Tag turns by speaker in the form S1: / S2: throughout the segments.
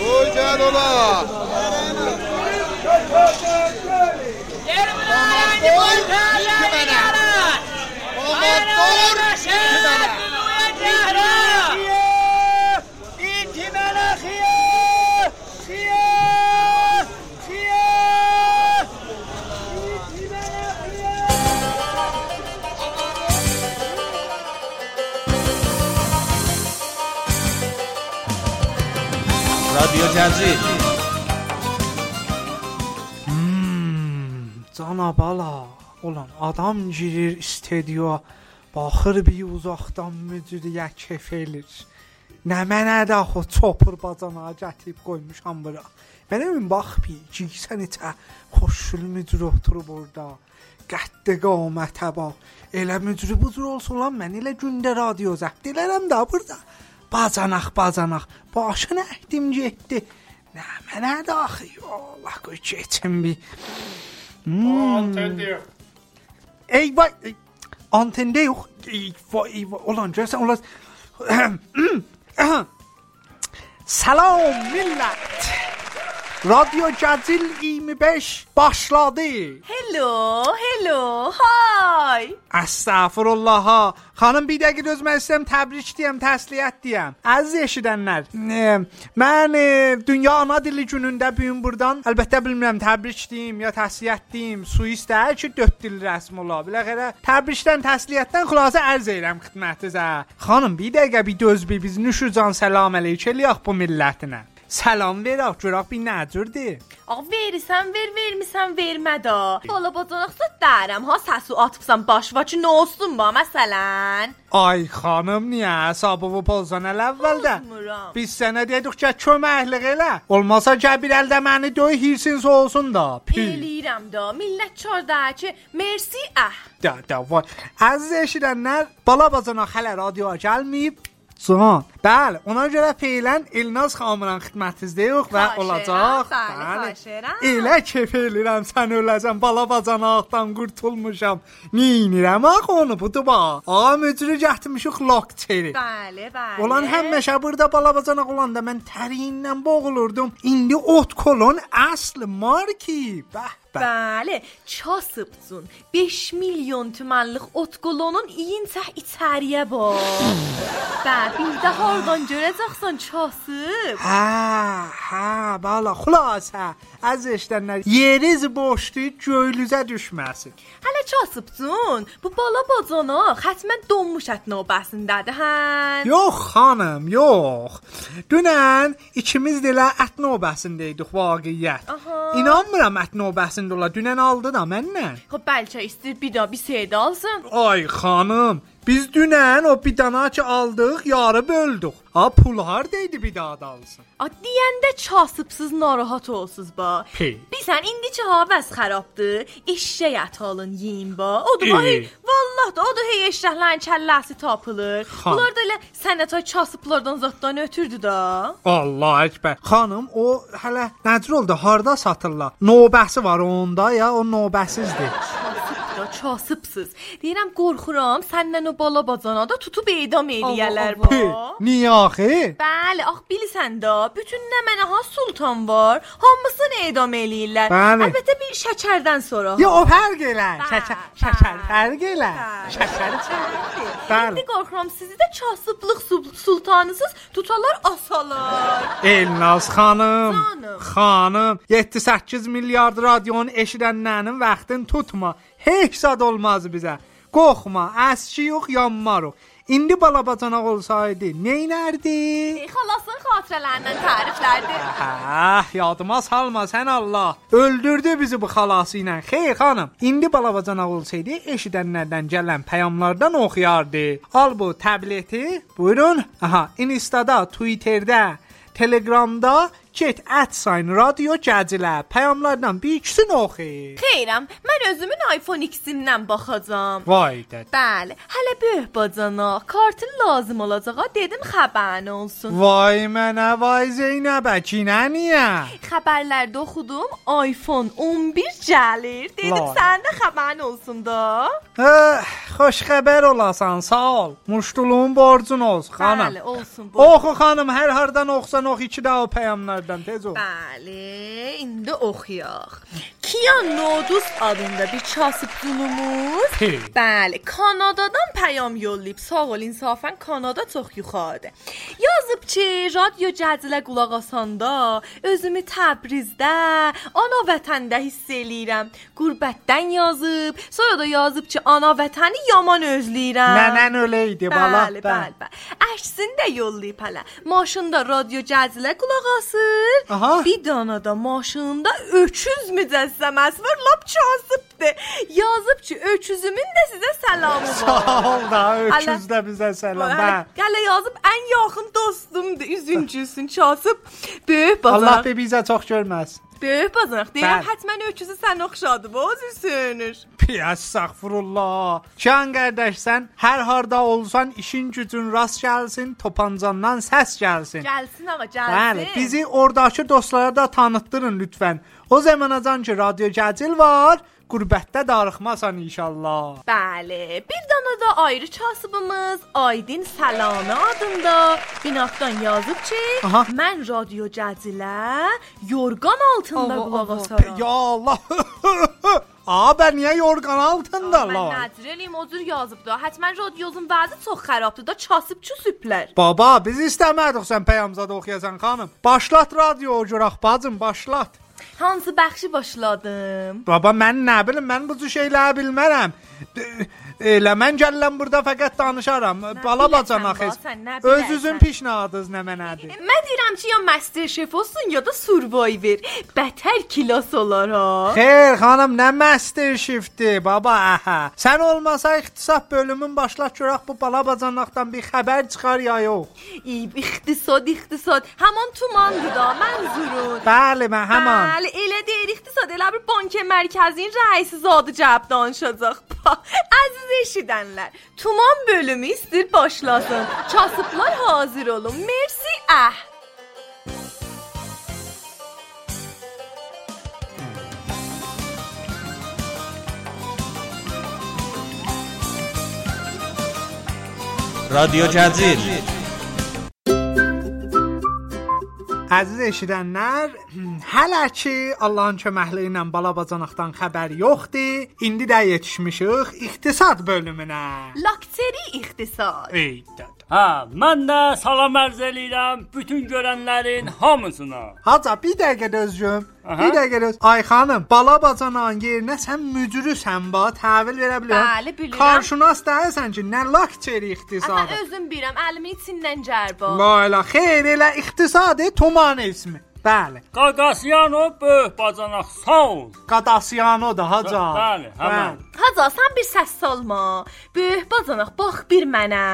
S1: Hocan ola.
S2: رادیو جزیره
S3: Canabala, olan adam girir istediyoya, baxır bir uzaqdan mücüdüyə kef elir. Nə mənə də axı çopur bacana gətirib qoymuşam bura. Mənim bax bir gigsən içə xoşul mücür oturub orada. Qəddə qamətə bax. Elə mücür bucur olsun lan mən elə gündə radio zəbt elərəm də burada. Bacanaq bacanaq başına əkdim getdi. Nə mənə də axı yolla qoy keçim bir. Ey vay ey, antende yok. Ey, vay, vay, Olan görsen olan. Selam millet. Radyo Cazil 25 başladı.
S4: Hello, hello, hi.
S3: Estağfurullah ha. Hanım bir dəqiqə dözmək istəyirəm, təbrik deyəm, təsliyyət deyəm. Əziz eşidənlər, e, mən e, dünya ana dili günündə bu gün burdan əlbəttə bilmirəm təbrik deyim ya təsliyyət deyim. Suis hər ki 4 dil rəsmi ola. Biləxərə təbrikdən, təsliyyətdən xülasə ərz edirəm xidmətinizə. Xanım bir dəqiqə bir döz bir biz nüşücan salam əleykə eləyək bu millətinə. Salam verək, görək bir nəcürdür.
S4: Ağa verirsən, ver, vermirsən, vermə də. Bala bacanaqsa dərəm, ha səsi atıbsan başva ki, nə olsun va məsələn?
S3: Ay xanım niyə hesabımı pozsan elə əvvəldə?
S4: Pozmuram.
S3: Biz sənə dedik ki, köməklik elə. Olmasa Cəbir əldə məni döy hirsin soğusun da. Pi.
S4: Eləyirəm də. Millət çardar ki, mersi ah.
S3: Da da vay. Əziz eşidənlər, bala bacana hələ radioya gəlməyib. Can. Bəli, ona görə feilən Elnaz xanımın xidmətinizdə yox və
S4: Xahiş
S3: olacaq.
S4: edirəm, bəli, xahiş edirəm.
S3: Elə kef elirəm, sən öləcəm, bala bacanaqdan qurtulmuşam. Neyinirəm axı onu bu duba? Ağa mücrü gətirmişik lokçeri.
S4: Bəli, bəli.
S3: Olan həmişə burada balabacanaq olanda mən təriyindən boğulurdum. İndi ot kolon əsl marki. Bəh bəh.
S4: Bəli, çasıbcun. 5 milyon tümanlıq ot qolonun iyin səh içəriyə bax. Bə, bir də hardan görəcəksən çasıb?
S3: Hə, hə, bala, xülasə, əziz eşidənlər, yeriniz boşdur, göylüzə düşməsin.
S4: Hələ çasıbcun. Bu bala bacana xətmən donmuş ət növbəsindədir, hə?
S3: Yox xanım, yox. Dünən ikimiz də elə ət növbəsində idik vaqiət.
S4: Aha.
S3: İnanmıram ət növbəsində ola. Dünən aldı da məndən.
S4: Xo bəlkə istir bir şey də bir seyid alsın.
S3: Ay xanım, biz dünən o bidanaçı aldıq, yarı böldük. Ha pul hardaydı bir daha da alsın.
S4: A deyəndə çasıbsız narahat olsuz ba.
S3: Hey.
S4: Bilsən indiçə havəz xarabdır. Eşşək ət alın yeyin ba. O
S3: Ey.
S4: da hey, vallah da o da hey eşşəklərin kəlləsi tapılır.
S3: Ha.
S4: Bunlar da elə sənətə çasıblardan zətdan ötürdü da.
S3: Allah əkbər. Xanım, o hələ nəcür oldu? Harda satırlar? Növbəsi var onda ya o növbəsizdir.
S4: Çasıbdır, çasıbsız. Deyirəm qorxuram, səndən o bala bacana da tutub edam eləyərlər
S3: Hey,
S4: ba.
S3: niyə axı?
S4: Bəli, ax bilirsən də, bütün nə mənə ha sultan var, hamısını edam eləyirlər.
S3: Bəli.
S4: Əlbəttə bir şəkərdən sonra.
S3: Ya o fərq elən. Şəkər, şəkər
S4: Bəli.
S3: fərq elən.
S4: Bəli.
S3: Şəkər. Bəli.
S4: İndi qorxuram sizi də kasıblıq sul- sultanısız tutalar asalar.
S3: Elnaz xanım.
S4: Canım.
S3: Xanım, 7-8 milyard radionu eşidənlərin vaxtını tutma. Heç zad olmaz bizə. Qorxma, əski yox, yanmarıq. İndi balabacanaq olsaydı, neynərdi?
S4: E, Xalasın xatirələrindən təriflərdi.
S3: Hə, yadıma salma sən Allah. Öldürdü bizi bu xalası ilə. Xeyr xanım, indi balabacanaq olsaydı, eşidənlərdən gələn peyamlardan oxuyardı. Al bu tableti. Buyurun. Aha, Insta'da, Twitter'də, Telegram'da Get at sign radio gəzilə. Peyamlarla bir ikisini oxu.
S4: Xeyrəm, mən özümün iPhone X-imdən baxacam.
S3: Vay da.
S4: Bəli, hələ böyük bacana, kartın lazım olacağa dedim xəbərin olsun.
S3: Vay mənə vay Zeynəbə ki nə niyə?
S4: Xəbərlərdə oxudum, iPhone 11 gəlir. Dedim
S3: Vay.
S4: sənin də xəbərin olsun da.
S3: Eh, Xoş xəbər olasan, sağ ol. Muşduluğun borcun olsun xanım.
S4: Bəli, olsun bu.
S3: Oxu xanım, hər hardan oxusan ox iki də o peyamlardan tez ol.
S4: Bəli, indi oxuyaq. Kian Nodus adında bir kasıbcılımız.
S3: Hey.
S4: Bəli, Kanadadan pəyam yollayıb. Sağ ol, insafən Kanada çox yuxarıdır. Yazıb ki, radio cəzilə qulaq asanda özümü Təbrizdə, ana vətəndə hiss eləyirəm. Qürbətdən yazıb, sonra da yazıb ki, ana vətəni yaman özləyirəm.
S3: Nənən öləydi bala.
S4: Bəli, bəli, bəli. Əksini də yollayıb hələ. Maşında radio cəzilə qulaq asır.
S3: Aha.
S4: Bir dana da maşında öküz mücəssəməsi var, lap çazıbdır. Yazıb ki, öküzümün də sizə səlamı var.
S3: Sağ ol da, öküz də bizə səlam.
S4: Hələ,
S3: Bəli.
S4: hələ yazıb ən yaxın dostumdur. Üzüncüsün çazıb. Böyük
S3: Allah
S4: bazanaq.
S3: bir bizə çox görməsin.
S4: Böyük bazanaq. Deyirəm
S3: Bəli.
S4: hətmən öküzü sən oxşadıb. O üzür sönür.
S3: Estağfurullah. Can qardaş sən hər harda olsan işin gücün rast gəlsin, topancandan səs gəlsin.
S4: Gəlsin ağa, gəlsin.
S3: Bəli, bizi ordakı dostlara da tanıtdırın lütfən. O zamanacan ki radio gəcil var, qürbətdə darıxmasan inşallah.
S4: Bəli, bir dana da ayrı kasıbımız Aydin Səlami adında binafdan yazıb ki,
S3: Aha.
S4: mən radio cəzilə yorğan altında
S2: Ava,
S4: qulaq
S2: ava.
S4: asaram.
S3: Ya Allah. A ben niyə yorğan altında
S4: Mən
S3: la?
S4: nədir eləyim, o cür yazıb da. Həttən radiozun vəzi çox xarabdır da, kasıb çüsüblər.
S3: Baba, biz istəmədik sən peyamzada oxuyasan xanım. Başlat radio o görək bacım, başlat.
S4: Hansı bəxşi başladım?
S3: Baba mən nə bilim, mən bu cür şeyləri bilmərəm. D- e, Elə mən gəlirəm burada fəqət danışaram. Bala
S4: biləsən
S3: bacan
S4: ba,
S3: axı.
S4: sən nə
S3: Öz
S4: biləsən?
S3: üzün pişnadız nə mənədir.
S4: Mən deyirəm ki, ya Master Chef olsun, ya da Survivor. Bətər kilas olaraq.
S3: Xeyr xanım, nə master shiftdi baba. Əhə. Sən olmasa iqtisad bölümün başlat görək bu bala bacanaqdan bir xəbər çıxar ya yox.
S4: İyi, iqtisad, iqtisad. Həman tumandır da, mənzurun.
S3: Bəli, mən həman.
S4: Bəli, elə deyir iqtisad elə bir banka mərkəzinin rəisi zadı cavab danışacaq. Pa, Əziz eşidənlər, tuman bölümü istir başlasın. Kasıblar hazır olun. Mersi əh.
S1: رادیو جزیل
S3: Əziz eşidənlər, hələ ki Allahın köməkliyi ilə bala bacanaqdan xəbər yoxdur. İndi də yetişmişik iqtisad bölümünə.
S4: Lakteri iqtisad.
S3: Ey dad.
S5: Hə, mən də salam arz eləyirəm bütün görənlərin hamısına.
S3: Haca bir dəqiqə də özüm.
S5: Aha.
S3: Bir dəqiqə də öz. Ay xanım, bala bacanağın yerinə sən müdürüsən ba, təhvil verə bilərəm.
S4: Bəli, bilirəm.
S3: Karşınas dəsən ki, nə lakçeri
S4: Əhə
S3: iqtisadı.
S4: özüm bilirəm, əlimin içindən cərbə.
S3: La la, xeyr elə iqtisadi tuman ismi. Bəli.
S5: Qaqasyan o böyük bacanaq sağ ol.
S3: Qadasiyano da haca.
S5: Bəli, həmən.
S4: Haca, sən bir səs salma. Böyük bacanaq, bax bir mənə.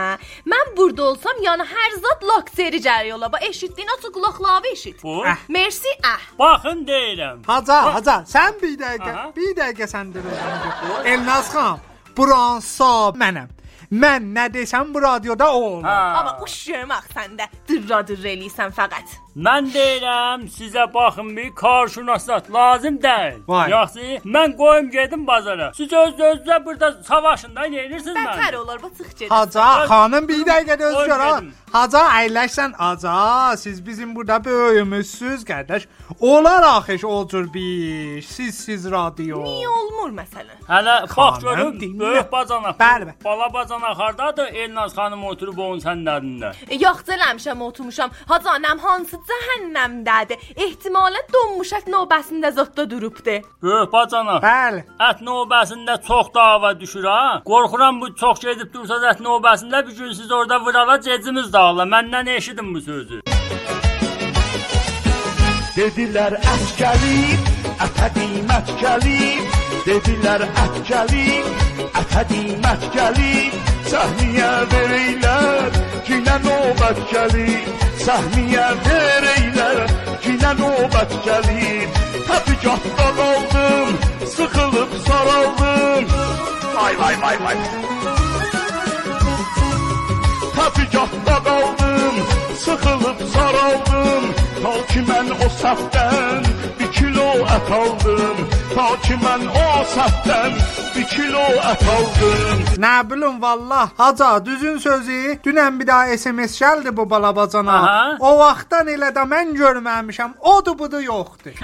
S4: Mən burada olsam, yəni hər zat lakteri cəri yola. Ba, eşitdin, açı qulaqlağı eşit.
S5: Bu,
S3: Əh.
S4: Mersi əh.
S5: baxın deyirəm.
S3: Haca, haca, sən bir dəqiqə,
S5: Aha.
S3: bir dəqiqə sən deyirsən. Elnaz xan, buran sab mənəm. Mən nə desəm bu radioda o olur.
S5: Hə,
S4: Amma uşağım ax səndə dırradır eləyirsən fəqət.
S5: mən deyirəm sizə baxın bir karşınasat lazım deyil.
S3: Vay.
S5: Yaxşı, mən qoyum gedim bazara. Siz öz özünüzə burada savaşın da nə edirsiniz
S4: Bətər
S5: mən?
S4: olar bu çıx gedir.
S3: Haca, xanım bir dəqiqə də özgür ha.
S5: Ölmədim.
S3: Haca, əyləşsən, haca, siz bizim burada böyüyümüzsüz, qardaş. Olar axı o cür bir iş. siz siz radio.
S4: Niyə olmur məsələn?
S5: Hələ bax
S3: Xanım,
S5: görüm
S3: dinlə.
S5: böyük bacanaq.
S3: Bəli, bəli.
S5: Bala bacanaq hardadır? Elnaz xanım oturub onun səndərində.
S4: E, Yox deləmişəm, oturmuşam. Haca anam hansı cəhənnəmdədir? Ehtimalən donmuşaq növbəsində zotda durubdu.
S5: Böyük bacanaq.
S3: Bəli.
S5: Öh, Ət növbəsində çox dava düşür ha. Qorxuram bu çox gedib dursa da ət növbəsində bir gün siz orada vırala cecimiz dağla. Məndən eşidin bu sözü.
S6: Dedilər ət gəlib, ətə qiymət gəlib. Dedilər ət ah, gəlib, ətə qiymət gəlib. Səhniyə verəylər, Kine növbət gəlib Səhmiyə vereylər Kine növbət gəlib Təpikatda qaldım Sıxılıb saraldım Vay vay vay vay Təpikatda qaldım Sıxılıb saraldım Ta ki mən o səhvdən Bir kilo ət aldım Ta ki mən o səhvdən Bir kilo ət aldım
S3: Nə bilim vallah haca düzün sözü. Dünən bir daha SMS gəldi bu balabacana.
S5: Aha.
S3: O vaxtdan elə də mən görməmişəm. Odu budu yoxdur.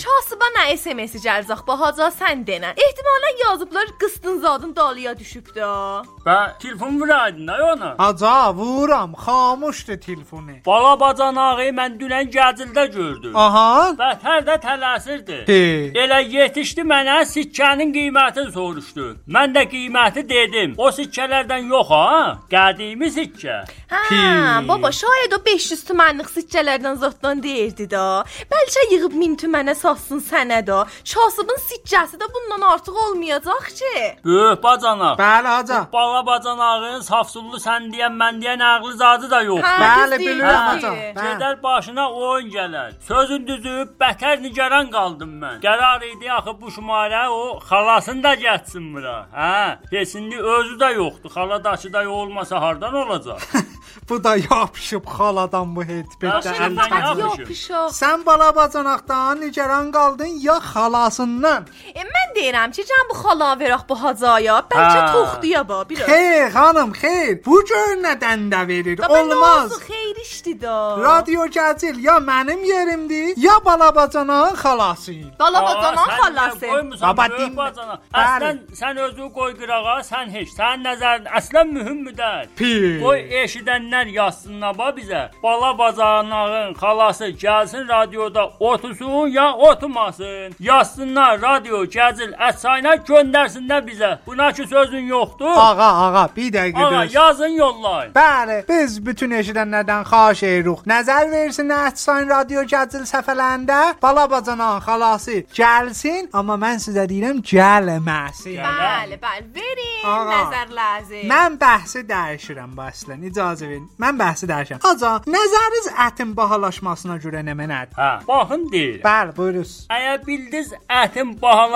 S4: Kasıba nə SMS-i gələcək bu Haca sən denən. Ehtimalən yazıblar qıstın zadın dalıya düşübdü. ha.
S5: Bə, telefon vuraydın da öh, ona.
S3: Haca vuram, xamuşdur telefonu.
S5: Bala bacanağı mən dünən gəcildə gördüm.
S3: Aha.
S5: Bəs hər də tələsirdi.
S3: He.
S5: Elə yetişdi mənə sikkənin qiymətini soruşdu. Mən də qiyməti dedim. O sikkələrdən yox ha, qədimi sikkə.
S4: Hə,
S3: Pi.
S4: baba şayad o 500 tümanlıq sikkələrdən zotdan deyirdi də. Bəlkə yığıb 1000 tümənə satsın sənə də. Kasıbın sikkəsi də bundan artıq olmayacaq ki.
S5: Böyük bacanaq.
S3: Bəli haca.
S5: Bala bacanağın safsullu sən deyən mən deyən ağlı zadı da yox.
S4: Hə,
S3: Bəli,
S4: düz deyir,
S3: bilirəm,
S4: düz
S3: Haca.
S4: deyir.
S3: Hə.
S5: Gedər başına oyun gələr. Sözün düzü, bətər nigaran qaldım mən. Qərar idi axı bu şumarə o xalasını da gətirsin bura. Hə, keçindi özü də yoxdur. Xala daşı da olmasa hardan olacaq?
S3: Bu da yapışıb xaladan bu hetbirdə.
S5: Yaxşı,
S4: Başına
S5: Sən
S4: fəqət
S5: yapmışım.
S4: yox pişox.
S3: Sən balabacanaqdan nigaran qaldın ya xalasından?
S4: E, mən deyirəm ki, can bu xala verək bu hacaya. Bəlkə
S5: Hə.
S4: toxduya ba bir. az.
S3: Xeyr xanım, xeyr. Bu gör nədən də verir.
S4: Da ben
S3: Olmaz.
S4: olsun, Xeyir işdi da.
S3: Radyo Gəcil ya mənim yerimdir, ya balabacanağın xalasıyım.
S4: Bala bacanan
S5: Aa, sən
S4: xalası.
S5: qoymusan
S3: Baba,
S5: böyük
S3: dinmə.
S5: bacana.
S3: Bəli.
S5: Əslən sən özünü qoy qırağa, sən heç. Sənin nəzərin əslən mühümmüdür.
S3: Pi.
S5: Qoy eşidənlər yazsınlar ba bizə. Bala bacanağın xalası gəlsin radioda otusun ya otumasın. Yazsınlar radio Gəzil əsayına göndərsinlər bizə. Buna ki sözün yoxdur.
S3: Ağa, ağa, bir dəqiqə
S5: Ağa
S3: dur.
S5: yazın yollayın.
S3: Bəli, biz bütün eşidənlərdən xahiş edirik. Nəzər versinlər Ətsayn Radyo Gəcil səfələrində balabacanağın xalası gəlsin, amma mən sizə deyirəm gəlməsin.
S5: Gəl.
S4: Bəli, bəli. Verin
S3: Ağa.
S4: nəzər lazım.
S3: Mən bəhsi dəyişirəm bu əslən. İcazə verin. Mən bəhsi dəyişirəm. Aca, nəzəriniz ətin bahalaşmasına görə nə mənədir?
S5: Hə, baxın deyir.
S3: Bəli, buyuruz.
S5: Əgər bildiz ətin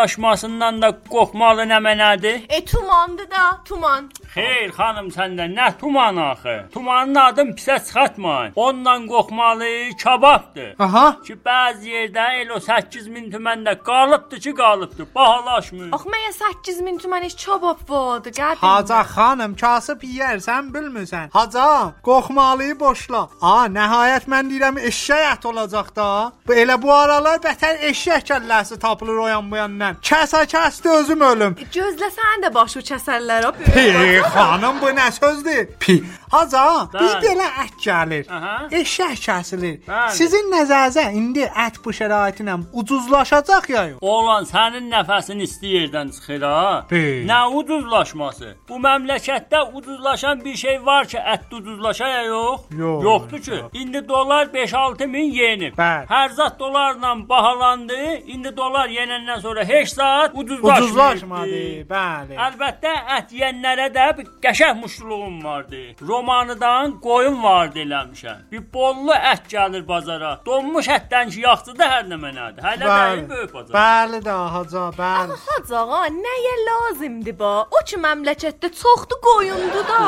S5: bahalaşmasından da qorxmalı nə mənədir?
S4: E tumandı da, tuman.
S5: Xeyr xanım səndə nə tuman axı? Tumanın adını pisə çıxartmayın. Ondan qorxmalı kababdır.
S3: Aha.
S5: Ki bəzi yerdə el o 8000 tümən də qalıbdı ki, qalıbdı. Bahalaşmır.
S4: Axı mən 8000 tümən heç çabab vardı, qədim.
S3: Haca xanım, kasıb yeyərsən bilmirsən. Haca, qorxmalıyı boşla. A, nəhayət mən deyirəm eşşək ət olacaq da. Bu elə bu aralar bətər eşşək kəlləsi tapılır o yan bu yandan. Kəsə kəsdi özüm ölüm.
S4: Gözləsən də başı kəsərlər o.
S3: Pi, xanım bu nə sözdür? Pi. Haca, biz
S5: Bəli.
S3: belə ət gəlir.
S5: Aha.
S3: Eşşək kəsilir.
S5: Bəli.
S3: Sizin nəzərinizə indi ət bu şəraiti ilə ucuzlaşacaq ya yox?
S5: Oğlan sənin nəfəsin isti yerdən çıxır ha.
S3: Hey.
S5: Nə ucuzlaşması? Bu məmləkətdə ucuzlaşan bir şey var ki, ət ucuzlaşa ya yox?
S3: Yox,
S5: Yoxdur ki. İndi dollar 5-6 min yenib.
S3: Bəli.
S5: Hər zat dollarla bahalandı. İndi dollar yenəndən sonra heç zat ucuzlaşmadı.
S3: Ucuzlaşmadı, bəli.
S5: Əlbəttə ət yeyənlərə də bir qəşəng muştuluğum vardı. Romanıdan qoyun vardı eləmişəm. Bir bollu ət gəlir bazara. Donmuş ətdən ki, yaxşıdır hər nə mənədir. Hələ dəyir böyük bazar.
S3: Bəli də, Haca, bəli.
S4: Hacağa nəyə lazımdı bu? O ki məmləkətdə çoxdu qoyundu da.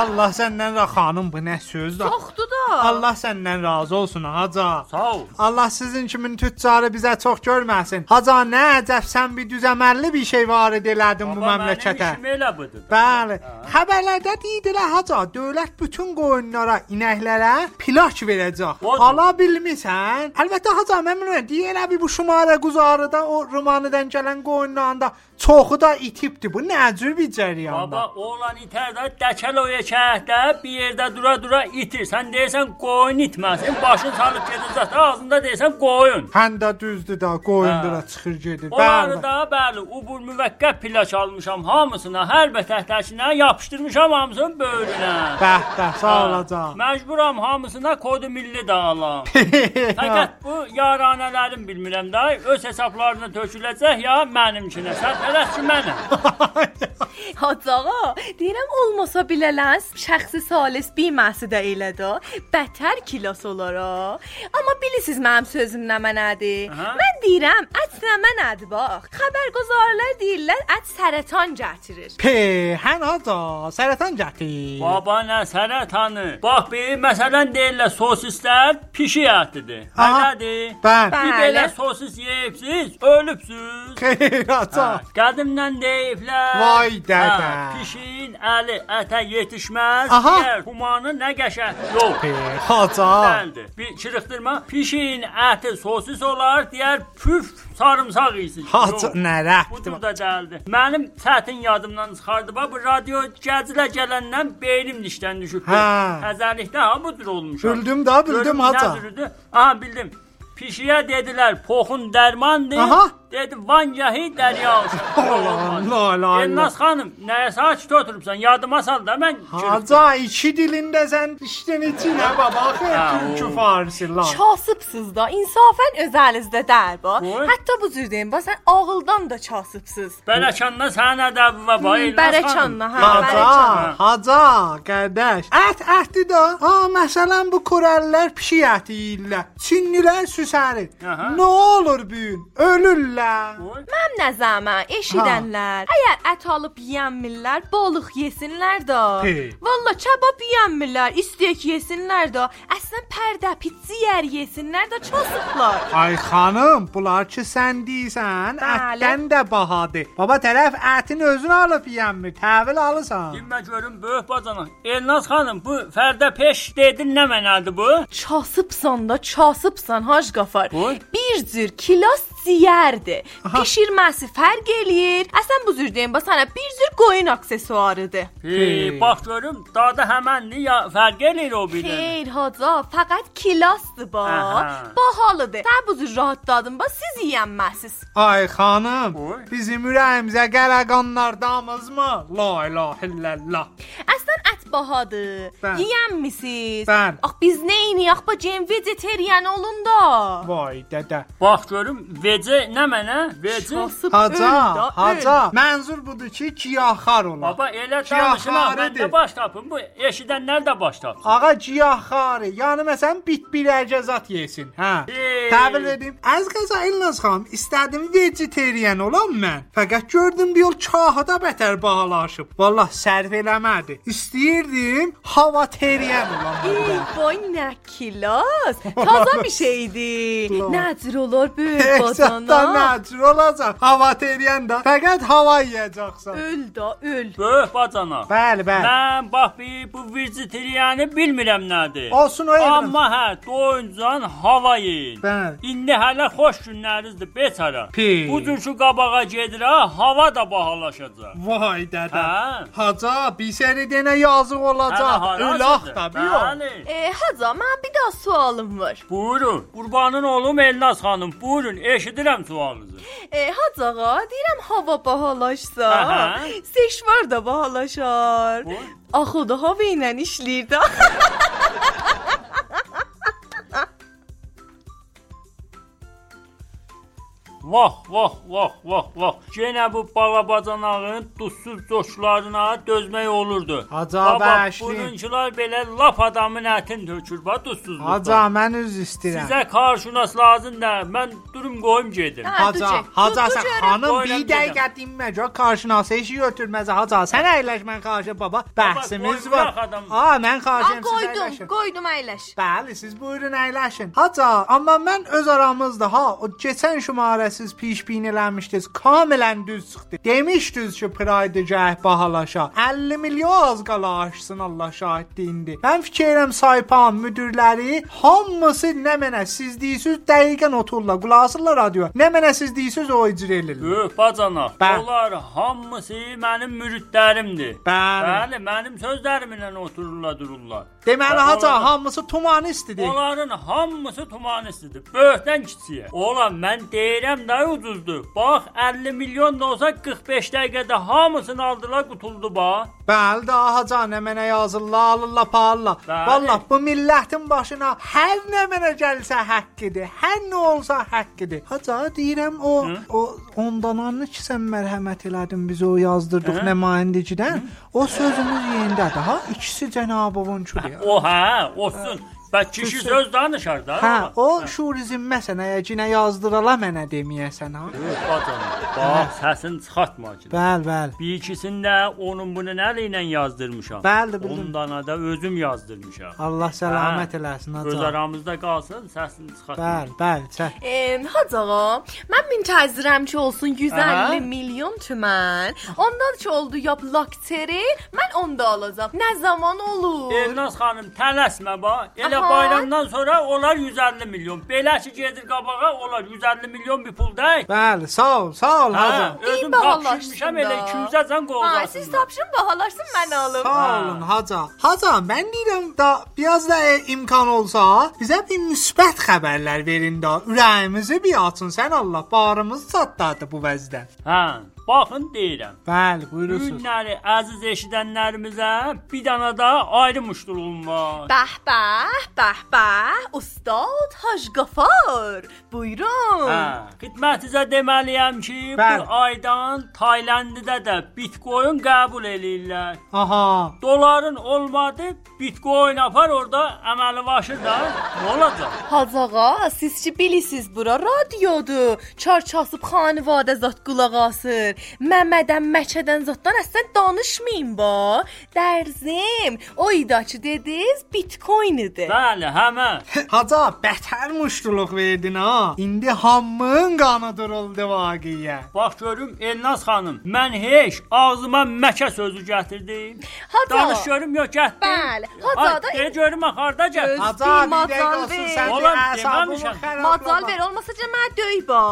S3: Allah səndən ra xanım bu nə sözdür?
S4: Çoxdu da.
S3: Allah səndən razı olsun Haca.
S5: Sağ ol.
S3: Allah sizin kimin tüccarı bizə çox görməsin. Haca nə əcəb sən bir düzəməlli bir şey var elədin bu
S5: Baba,
S3: məmləkətə.
S5: Mənim işim elə budur.
S3: Bəli. Xəbərlərdə deyirdilər Haca, dövlət bütün qoyunlara, inəklərə plaj verəcək.
S5: Odur.
S3: Ala bilmisən? Əlbəttə Haca, mən bilmirəm. Deyirlər bir bu şumara quzarıda o Rumaniyadan gələn qoyunların da çoxu da itibdi. Bu nə cür bir cəryandır?
S5: Baba oğlan itər də dəkəl o yekəhdə bir yerdə dura-dura itir. Sən deyirsən qoyun itməsin, başın salıb gedir zətə, ağzında deyirsən qoyun.
S3: Həm də düzdür da, qoyunlara
S5: Hə.
S3: çıxır gedir. Bəli.
S5: Onları da bəli, ubur müvəqqət plaç almışam hamısına, hər bətəhləşinə yapışdırmışam hamısının böyrünə.
S3: Bəh, bəh, sağ
S5: Hə,
S3: olacaq.
S5: Məcburam hamısına kodu milli də alam. Fəqət bu yaranələrin bilmirəm də öz hesablarına töküləcək ya mənimkinə. Sən tələs ki mənəm.
S4: Hacı ağa, deyirəm olmasa bilələn şəxsi salis bilməsi də elədir. Bətər kilos olar o. Amma bilirsiz mənim sözüm nə mənadır?
S5: Aha.
S4: Mən deyirəm, ət nə mənadır bax. Xəbərguzarlar deyirlər, ət sərətan gətirir.
S3: Pehən aca, sərətan gətir.
S5: Baba nə sərətanı. Bax bir məsələn deyirlər sosislər pişik ətidir.
S3: Aha.
S5: Elədir.
S3: Bəli.
S5: Bir
S4: Bəli.
S5: belə sosis yeyibsiz, ölübsüz.
S3: Xeyr aca.
S5: Ha, Qədimdən deyiblər.
S3: Vay dədə.
S5: ha, Pişiyin əli ətə yetişməz.
S3: Aha.
S5: Yer Humanı nə qəşəng. Yox.
S3: Peh aca.
S5: Dəldir. Bir çırıqdırma. Pişiyin əti sosis olar, deyər püf sarımsaq yesin.
S3: Aca
S5: Yox.
S3: nə
S5: Budur
S3: rəbti?
S5: da dəldi. Mənim çətin yadımdan çıxardı. Bax bu radio gəzilə gələndən beynim dişdən düşüb.
S3: Hə.
S5: Əzəlikdə ha budur olmuşam.
S3: Bildim də, bildim
S5: Görüm
S3: aca.
S5: nə dürüdü? Aha bildim. Pişiyə dedilər poxun dərmandır.
S3: Aha.
S5: Dedi vangahi dərya olsun.
S3: Allah, la, la.
S5: Elnaz xanım nəyə saç götürübsən? Yadıma sal da mən.
S3: Aca iki dilində sən dişdən içinə baba. Xeyr
S5: Ha,
S3: türkü
S5: o.
S3: farsi lan.
S4: Kasıbsız da, insafən öz əlinizdə deyil bu.
S5: Qoy.
S4: Hətta bu cür deyim, bax sən ağıldan da kasıbsız.
S5: Bərəkanda sənin ədəbin var. bay Elnaz xanım.
S4: Bərəkanla, hə,
S3: Haca,
S4: bərəkanla.
S3: haca, qardaş. Ət ətdi də. Ha, məsələn bu Korəllər pişik əti yeyirlər. Çinlilər süsərir.
S5: Aha.
S3: Nə olur bu gün? Ölürlər.
S5: Qoy.
S4: Mən nəzəmə, eşidənlər, əgər ət alıb yeyənmirlər, balıq yesinlər də.
S3: Hey.
S4: Valla kebab yeyənmirlər, istəyək yesinlər də. Əslən pərdə, pizziyər yesinlər də, çosublar.
S3: Ay xanım, bunlar ki sən deyirsən,
S4: Bəli.
S3: ətdən də bahadır. Baba tərəf ətin özünü alıb yeyənmir, təhvil alırsan.
S5: Dinmə görüm böyük bacana. Elnaz xanım bu fərdə peş dedin nə mənadır bu?
S4: Çasıbsan da, çasıbsan hac qafar.
S5: Qoy.
S4: Bir cür kilos ciyərdir. Pişirməsi fərq eləyir. Əslən E bu cür deyim, bax sənə bir cür qoyun aksesuarıdır.
S5: Hey, bax görüm dadı həməndir ya fərq eləyir o birdən.
S4: Xeyr haca, faqat kilosdur bu.
S5: Aha.
S4: Bahalıdır. Sən bu cür rahatladın, bax siz yeyənməsiz.
S3: Ay xanım,
S5: Oy.
S3: bizim ürəyimizə qərəqanlar damızmı? La ilahə illallah.
S4: Əslən ət bahadır.
S3: Bəli.
S4: Yeyənmisiz?
S3: Bəli.
S4: Ax biz nə yeyək bax gen vegetarian olun da.
S3: Vay dədə.
S5: Bax görüm vecə nə mənə? Vecə.
S4: Kasıb
S3: Haca,
S4: öl da, öl.
S3: haca. Mənzur budur ki, giyaxar olar.
S5: Baba elə
S3: Ki
S5: danışma, mən
S3: axarıdır.
S5: də baş tapım. Bu eşidənlər də baş tapsın.
S3: Ağa giyaxarı, yəni məsələn bit birəcə zat yesin. Hə.
S5: Hey.
S3: Təhvil verdim. Az qaza İlnaz xanım, istədim vegetarian olam mən. Fəqət gördüm bir yol kahada bətər bahalaşıb. Vallah sərf eləmədi. İstəyirdim havaterian olam.
S4: Ey, Vay nə kilos. Taza bir şeydi. Nəcür olur böyük
S3: Hesabdan
S4: badana.
S3: nəcür olacaq. Havaterian da. Fəqət hava yeyəcəksən.
S4: Öl da, öl.
S5: Böyük bacana.
S3: Bəli, bəli.
S5: Mən bax bir bu vegetarianı bilmirəm nədir.
S3: Olsun o evin.
S5: Amma hə, doyuncan hava yeyin.
S3: Bəli.
S5: İndi hələ xoş günlərinizdir beçara.
S3: Pi.
S5: Bu cür şu qabağa gedir ha, hava da bahalaşacaq.
S3: Vay dədə.
S5: Hə?
S3: Haca, bir səni denə yazıq olacaq. Ülaq da, bir
S5: Bəli.
S4: E, haca, mən bir daha sualım var.
S5: Buyurun. Qurbanın oğlum Elnaz xanım. Buyurun, eşidirəm sualınızı.
S4: E, hacağa, deyirəm hava bahalaşsa,
S5: Aha.
S4: seşvar da bahalaşar.
S5: Qoy.
S4: Axı o da hava ilə işləyir də.
S5: Vah, vah, vah, vah, vah. Yenə bu balabacanağın duzsuz coşlarına dözmək olurdu.
S3: Haca,
S5: Baba,
S3: bəşli.
S5: bununkilar belə laf adamın ətin tökür, bax duzsuzluqdan.
S3: Haca, mən üz istəyirəm.
S5: Sizə karşınas lazım da, mən durum qoyum gedim.
S4: Ha.
S3: Haca,
S4: Dur,
S3: Haca
S4: dur,
S3: sən
S4: dur,
S3: xanım
S5: dur,
S3: bir
S5: dur,
S3: dəqiqə dinməcə karşınası işi götürməz Haca. Sən əyləş mən qarşı baba. Bəhsimiz
S5: qoy,
S3: var.
S5: bırax adamı.
S3: A, mən
S4: A,
S3: qarşıyam siz
S4: qoydum,
S3: əyləşin.
S4: qoydum əyləş.
S3: Bəli, siz buyurun əyləşin. Haca, amma mən öz aramızda ha, o keçən şumarəsiz pişbin eləmişdiniz. Kamilən düz çıxdı. Demişdiniz ki, Pride cəh bahalaşa. 50 milyon az qala aşsın Allah şahiddir indi. Mən fikirəm saypan müdürləri hamısı nə mənə siz deyirsiz dəqiqən otururlar, qulaq asırlar radio. Nə mənə siz deyirsiz o icra elirlər.
S5: Böyük bacanaq,
S3: Bə-
S5: onlar hamısı mənim müridlərimdir.
S3: Bəli.
S5: Bəli, mənim sözlərimlə otururlar, dururlar.
S3: Deməli
S5: Bə-
S3: Haca hamısı tumanistdir.
S5: Onların hamısı tumanistdir. Böyükdən kiçiyə. Oğlan mən deyirəm də nə ucuzdur. Bax 50 milyon da olsa 45 dəqiqədə hamısını aldılar, qutuldu bax.
S3: Bəli də ahacan mənə yazırlar, alırlar, parla.
S5: Bəli.
S3: Vallah bu millətin başına hər nə mənə gəlsə haqqidir, hər nə olsa haqqidir. Haca deyirəm o Hı? o ondananı ki sən mərhəmət elədin biz o yazdırdıq nümayəndicidən. O sözümüz yerindədir ha. İkisi cənabınçudur.
S5: O hə, olsun. Bə kişi söz danışar da.
S3: Hə, o şurizm məsələyə cinə yazdırala mənə deməyəsən ha.
S5: Bacan, bax səsin çıxartma ki.
S3: Bəli, bəli.
S5: Bir ikisini də onun bunu nə ilə yazdırmışam.
S3: Bəli, bildim.
S5: Ondan da özüm yazdırmışam.
S3: Allah səlamət
S5: Hə.
S3: eləsin
S5: Öz
S3: haca.
S5: aramızda qalsın, səsini çıxartma.
S3: Bəli, bəli, çək.
S4: Em, Hacı ağa, mən müntəzirəm ki olsun 150
S5: Aha.
S4: milyon tümən. Ondan ki oldu yap lakteri, mən onu da alacağam. Nə zaman olur?
S5: Elnaz xanım tələsmə bax. Elə
S4: Aha.
S5: bayramdan sonra onlar 150 milyon. Belə ki gedir qabağa, onlar 150 milyon bir pul deyil.
S3: Bəli, sağ ol, sağ ol haca.
S5: Hə, özüm
S4: Deyin bahalaşsın
S5: tapşırmışam
S4: da.
S5: elə 200-ə can
S4: ha, siz
S5: qovdasın.
S4: tapşın bahalaşsın mən alım.
S3: Sağ olun Haca. Haca ben deyirəm da biraz da e, imkan olsa bizə bir müsbət xəbərlər verin da ürəyimizi bir açın. Sən Allah barımız çatladı bu vəzdə.
S5: Hə, baxın deyirəm.
S3: Bəli, buyurursunuz.
S5: Günləri əziz eşidənlərimizə bir dana da ayrı muştuluğum var.
S4: Bəh bəh, bəh bəh, ustad Hacı Qafar. Buyurun.
S5: Hə, xidmətinizə deməliyəm ki,
S3: Bəli.
S5: bu aydan Taylanddə də Bitcoin qəbul eləyirlər.
S3: Aha.
S5: Doların olmadı, Bitcoin apar orada əməli başır da. Nə olacaq?
S4: Hacı ağa, siz ki bilirsiz bura radiodur. Çarçasıb xanivadə zat qulaq asır. Məmmədən, Məkkədən zatdan əslən danışmayın ba. Dərzim, o idaçı dediz Bitcoin idi.
S5: Bəli, həmə.
S3: Haca bətər muştuluq verdin ha. İndi hamının qanı duruldu vaqiyə.
S5: Bax görüm Elnaz xanım, mən heç ağzıma məkə sözü gətirdim.
S4: Haca.
S5: Danış görüm yox gətirdim.
S4: Bəli, haca da-
S5: Gəl görüm axı, harda gəl.
S4: Öz-
S3: Haca
S4: Üstün
S3: bir dəqiqə
S4: mazal
S3: olsun
S4: ver.
S3: sən
S5: Oğlum,
S3: əsabımı
S5: deməmişəm.
S4: Mazal
S3: xərablama.
S4: ver olmasa cəmə döy ba.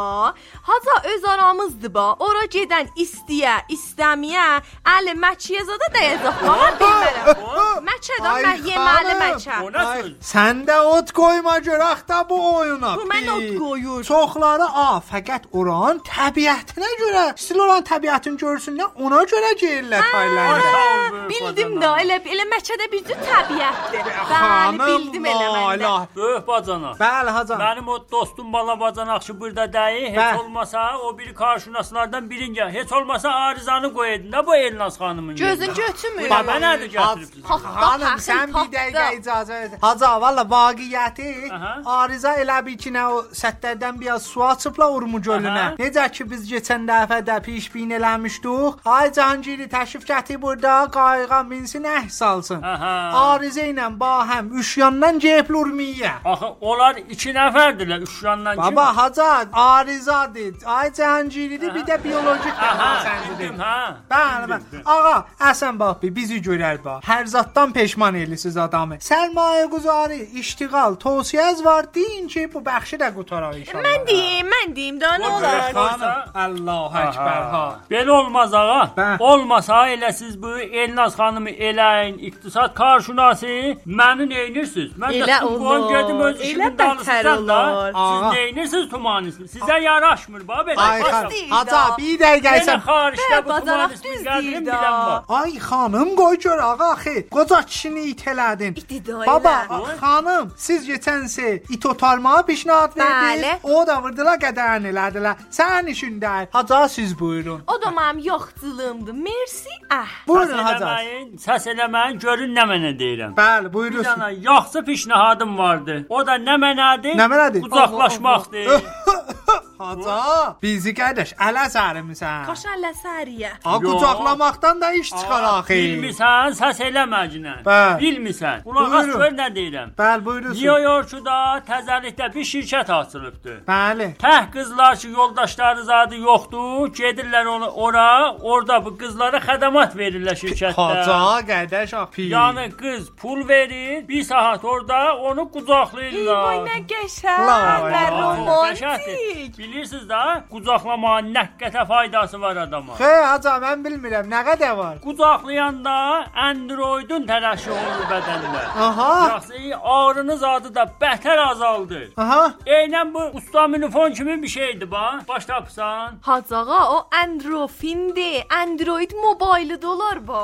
S4: Haca öz aramızdır ba. Ora gedən istəyə, istəməyə, əli Məkkəyə zada dəyəcək. Bana bilmərəm. Məkkədən
S3: Ay
S4: mən yeməli
S3: xanım,
S4: Məkkə.
S5: O nə
S3: Ay,
S5: söz?
S3: Sən də ot qoyma görək da bu oyuna.
S4: Bu mən ot
S3: Pi.
S4: qoyur.
S3: Çoxları a, fəqət oran təbiətinə görə, stil oran təbiətini görsünlər, ona görə geyirlər
S4: Hə,
S3: Taylandda.
S5: Sağ ol, böyük
S4: Bildim
S5: bacana.
S4: də, elə elə Məkkədə bizi təbiətdir. Bəli,
S3: Xanım,
S4: bildim elə mən. də.
S3: Allah.
S5: Böyük bacana.
S3: Bəli hacan.
S5: Mənim o dostum bala bacan axşı burada deyil. Heç
S3: Bəli.
S5: olmasa o biri karşınaslardan birin gəl. Heç olmasa Arizanı qoy edin də bu Elnaz xanımın
S4: Gözün
S5: yerinə.
S4: götürmür.
S5: Baba nədir gətiribsiz?
S4: Hax-
S3: Xanım,
S4: Baxın,
S3: sən bir
S4: baxın.
S3: dəqiqə icazə ver. Haca, valla vaqiəti
S5: Aha.
S3: arıza elə bir ki, nə o sətlərdən biraz su açıbla Urmu gölünə.
S5: Aha.
S3: Necə ki biz keçən dəfə də pişbin eləmişdik. Ay Cahangiri təşrif gətir burada, qayığa minsin, əhs alsın.
S5: Aha.
S3: Arıza ilə bahəm üşyandan gəlib Urmiyə.
S5: Axı onlar 2 nəfərdirlər, üşüyandan kim?
S3: Baba Haca arızadır. Ay Cahangiridir, bir də bioloji
S5: Aha,
S3: təhlükəsidir.
S5: bildim, hə.
S3: Bəli, bəli. Ağa, Həsən bax bir bizi görər bax. Hər zatdan peşman elisiz adamı. Sərmayə guzarı, iştiqal, tövsiyəz var. Deyin ki, bu bəxşi də qutaraq inşallah.
S4: Mən deyim, mən deyim də nə
S5: O
S4: olar?
S5: görək ha.
S3: Xanım, Allahu Əkbər ha.
S5: Belə olmaz ağa.
S3: Bə.
S5: Olmasa elə siz bu Elnaz xanımı eləyin, iqtisad karşınası mənim eynirsiniz. Mən
S4: Elə
S5: də tutqun
S4: olur.
S5: gedim öz
S4: Elə
S5: işimin
S4: bətər
S5: dalısından da.
S4: olur.
S3: Ağa.
S5: Siz neyinirsiniz tumanisiz? Sizə yaraşmır ba belə.
S3: Ay
S5: Başa-
S3: xanım,
S4: deyil
S3: Haca
S4: də.
S3: bir dəqiqə
S5: Belə
S3: isə
S5: xaricdə
S4: Bə,
S5: bu
S4: Hə, bacaraq
S5: tumanismi
S4: düz
S5: gətirin
S4: deyil də.
S5: bilən var.
S3: Ay xanım qoy gör ağa axı. Qoca kişini it elədin.
S4: İti də elə.
S3: Baba a- xanım siz keçənsə it otarmağa pişnahad verdiniz.
S4: Bəli.
S3: O da vurdular qədərin elədilər. Sənin işin deyil. Haca siz buyurun.
S4: O da mənim yoxculuğumdur. Mersi. Ah.
S3: Buyurun
S5: Səs
S3: Haca.
S5: eləməyin, səs eləməyin, görün nə mənə deyirəm.
S3: Bəli,
S5: Bir
S3: buyurursun.
S5: dana yaxşı pişnahadım vardı. O da nə mənədir?
S3: Nə mənadır?
S5: Uzaqlaşmaqdır.
S3: Haca, bizi Ah, qardaş ələ sərmisən.
S4: Qaşalla səriyə.
S3: A
S5: Yo.
S3: qucaqlamaqdan da iş çıxar axı.
S5: Bilmirsən, səs eləməcinə.
S3: Bəli.
S5: Bilmirsən. Qulaq as
S3: Buyurun.
S5: gör nə deyirəm.
S3: Bəli, buyurursun.
S5: New Yorkda təzəlikdə bir şirkət açılıbdı.
S3: Bəli.
S5: Təh qızlar ki, yoldaşları zadı yoxdur, gedirlər ona, ora, orada bu qızlara xədəmat verirlər
S3: Haca
S5: şirkətdə.
S3: qardaş ah, axı.
S5: Yəni qız pul verir, bir saat orada onu
S4: Ay,
S5: qucaqlayırlar.
S4: nə
S3: La,
S4: qəşəng və
S3: la, la.
S4: romantik.
S5: bilirsiniz də, qucaqlamağın nə qədə faydası var adama.
S3: Xey, aca mən bilmirəm nə qədər var.
S5: Qucaqlayanda Androidun tərəşi olur bədəndə.
S3: Aha.
S5: Yaxşı, ağrınız adı da bətər azaldır.
S3: Aha.
S5: Eynən bu usta minifon kimi bir şeydir ba. Baş tapsan.
S4: Hacı ağa o Androfindir. Android mobilı dolar ba.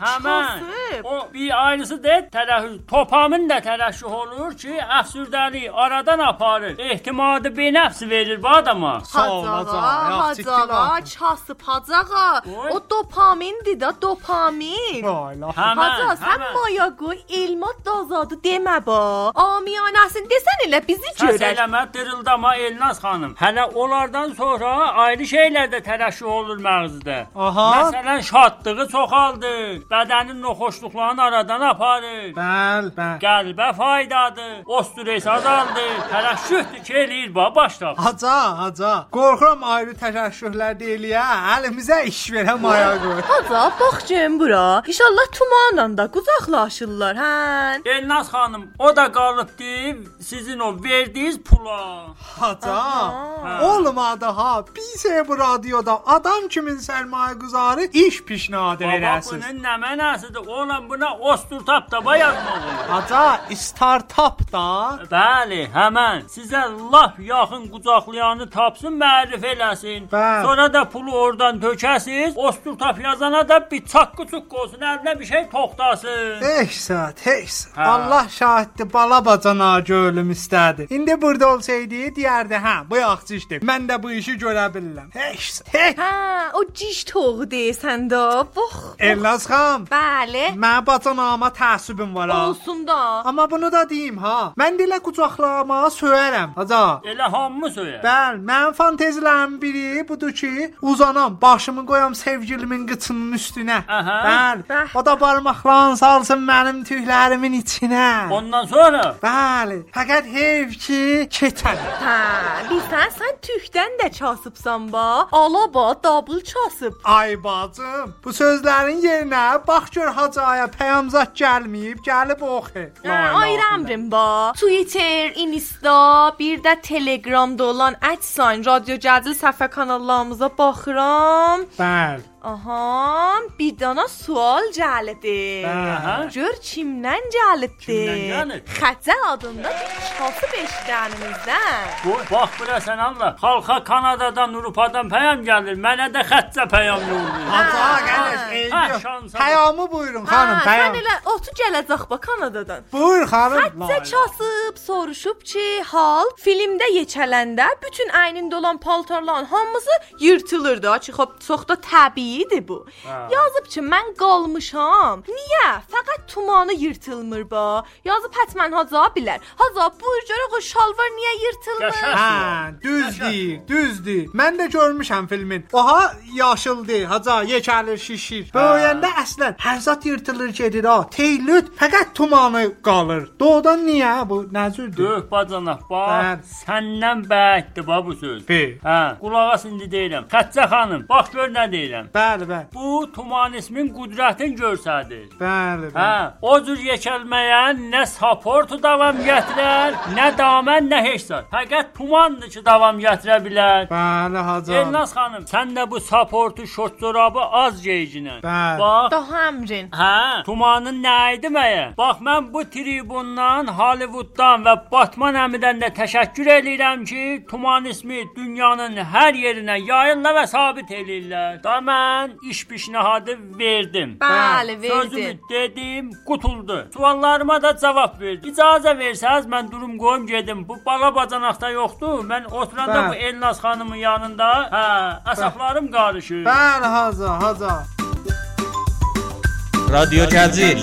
S5: Həmən.
S4: Kasıb.
S5: O bir aynısı deyil, tərəhüz. Topamın da tərəşüh olur ki, əfsürdəliyi aradan aparır. Ehtimadı benəfs verir bu adama.
S3: Sağ ol,
S4: Hacı
S3: Hacı
S4: ağa,
S3: ağa, ya,
S4: Hacı
S3: ciddi
S4: ağa,
S3: lafdır.
S4: kasıb Hacı ağa.
S5: Oy.
S4: O dopamindir da dopamin.
S3: Vay la.
S5: Həmən.
S4: Hacı, sən
S5: həmən.
S4: maya qoy, elmat da azadı demə ba. Amiyanəsin desən elə bizi
S5: Səs
S4: görər.
S5: eləmə, dırıldama Elnaz xanım. Hələ onlardan sonra ayrı şeylər də tərəşüh olur məğzdə.
S3: Aha.
S5: Məsələn, şadlığı çoxaldır, bədənin noxoşluqlarını aradan aparır.
S3: Bəl, bəl.
S5: Qəlbə faydadır, osteoartrit azaldır, tərəşühdür ki, eləyir ba, başla.
S3: Aca, aca. Qorxuram ayrı təşəkkürlər deyiliyə. Əlimizə iş verəm aya qoy.
S4: Hacı, bax cəm bura. İnşallah tumanla da qucaqlaşırlar, hə?
S5: Elnaz xanım, o da qalıbdı sizin o verdiyiniz pula.
S3: Aca.
S5: Hə.
S3: Olmadı ha. Bir şey bu radioda adam kimin sərmayə qızarı iş pişnadı
S5: Baba
S3: verəsiz.
S5: bunun nə mənasıdır? Oğlan buna osturtap da bayatmaq olur.
S3: Aca, startap da.
S5: Bəli, həmən. Sizə lap yaxın qucaqlayanı tapsın, mərif eləsin.
S3: Bəli.
S5: Sonra da pulu oradan tökəsiz. Ostur tap yazana da bir çaqqı çuqqı olsun, əlinə bir şey toxtasın.
S3: Heç saat, heç saat.
S5: Ha.
S3: Allah şahiddir, bala bacana görülüm istədi. İndi burada olsaydı, deyərdi, hə, bu yaxşı işdir. Mən də bu işi görə bilirəm. Heç saat, heç.
S4: Hə, o ciş toğu deyəsən də. Bax.
S3: Elnaz xan,
S4: Bəli.
S3: mən bacanama təəssübüm var ha.
S4: Olsun da.
S3: Amma bunu da deyim ha. Mən dilə qucaqlamağa söyərəm. Aca.
S5: Elə hamımı söyər.
S3: Bəli, mənim fantezilərim biri budur ki, uzanam, başımı qoyam sevgilimin qıçının üstünə.
S5: Aha.
S3: Bəli.
S4: Bəh.
S3: O da barmaqlarını salsın mənim tüklərimin içinə.
S5: Ondan sonra
S3: Bəli, fəqət heyf ki, keçər.
S4: Hə, bilsən sən tükdən də çasıbsan ba. Alaba double çasıb.
S3: Ay bacım, bu sözlərin yerinə bax gör Hacaya peyamzat gəlməyib, gəlib oxu.
S4: Hə, ayrı əmrim ba. Twitter, Insta, bir də Telegramda olan @sign radio gəzil səhifə kanallarımıza baxıram.
S3: Bəli.
S4: Aha, bir dana sual gəldi.
S3: Aha.
S4: Gör kimdən gəlibdi?
S5: Kimdən gəlib?
S4: Xətə adında bir kasıb eşidənimizdən.
S5: bu, bax bura sən Allah. Xalqa Kanadadan, Avropadan peyam gəlir. Mənə də xəttə peyam yollayır.
S3: Haca
S4: Ha,
S3: qardaş,
S4: ha.
S3: eybi
S5: Ha,
S3: yox.
S5: şansa bax.
S3: Peyamı buyurun xanım,
S4: Hə,
S3: peyam.
S4: sən elə otu gələcək bax Kanadadan.
S3: Buyur xanım.
S4: Xəttə çasıb soruşub ki, hal filmdə yeçələndə bütün əynində olan paltarların hamısı yırtılırdı. Açıq hop, çox da təbiidir bu. Yazıb ki, mən qalmışam. Niyə? Fəqət tumanı yırtılmır ba. Yazıb hətmən haca bilər. Haca buyur görə o şalvar niyə yırtılmır?
S5: Yaşa.
S3: Hə, düzdür, düzdür. Mən də görmüşəm filmin. Oha, yaşıldı, haca yekəlir, şişir. Böyüyəndə əslən hər zat yırtılır gedir ha. Teylüt fəqət tumanı qalır. Doğudan niyə bu nəzürdür?
S5: Döh bacanaq,
S3: Bəli.
S5: bax, səndən bəhətdir bax bu söz.
S3: Bir.
S5: Hə, qulağa indi deyirəm. Xəccə xanım, bax gör nə deyirəm.
S3: Bəli, bəli.
S5: Bu tumanizmin qüdrətin göstərir.
S3: Bəli, bəli.
S5: Hə, o cür yekəlməyən nə supportu davam gətirər, nə damən, nə heç zat. Fəqət tumandır ki, davam gətirə bilər.
S3: Bəli, haca.
S5: Elnaz xanım, sən də bu supportu şort corabı az geyicinə.
S3: Bəli.
S5: Bax,
S4: Daha əmrin.
S5: Hə, tumanın nə idi məyə? Bax mən bu tribundan, Hollywooddan və Batman əmidən də təşəkkür eləyirəm ki, tuman ismi dünyanın hər yerinə yayılır və sabit eləyirlər. Da mən iş pişnahadı verdim. Hə,
S4: Bəli,
S5: Sözümü
S4: verdin.
S5: dedim, qutuldu. Suallarıma da cavab verdi. İcazə versəz mən durum qoyum gedim. Bu bala bacanaqda yoxdur. Mən oturanda
S3: Bəli.
S5: bu Elnaz xanımın yanında, hə, əsəblərim qarışır.
S3: Bəli, haca, haca.
S1: رادیو جزیر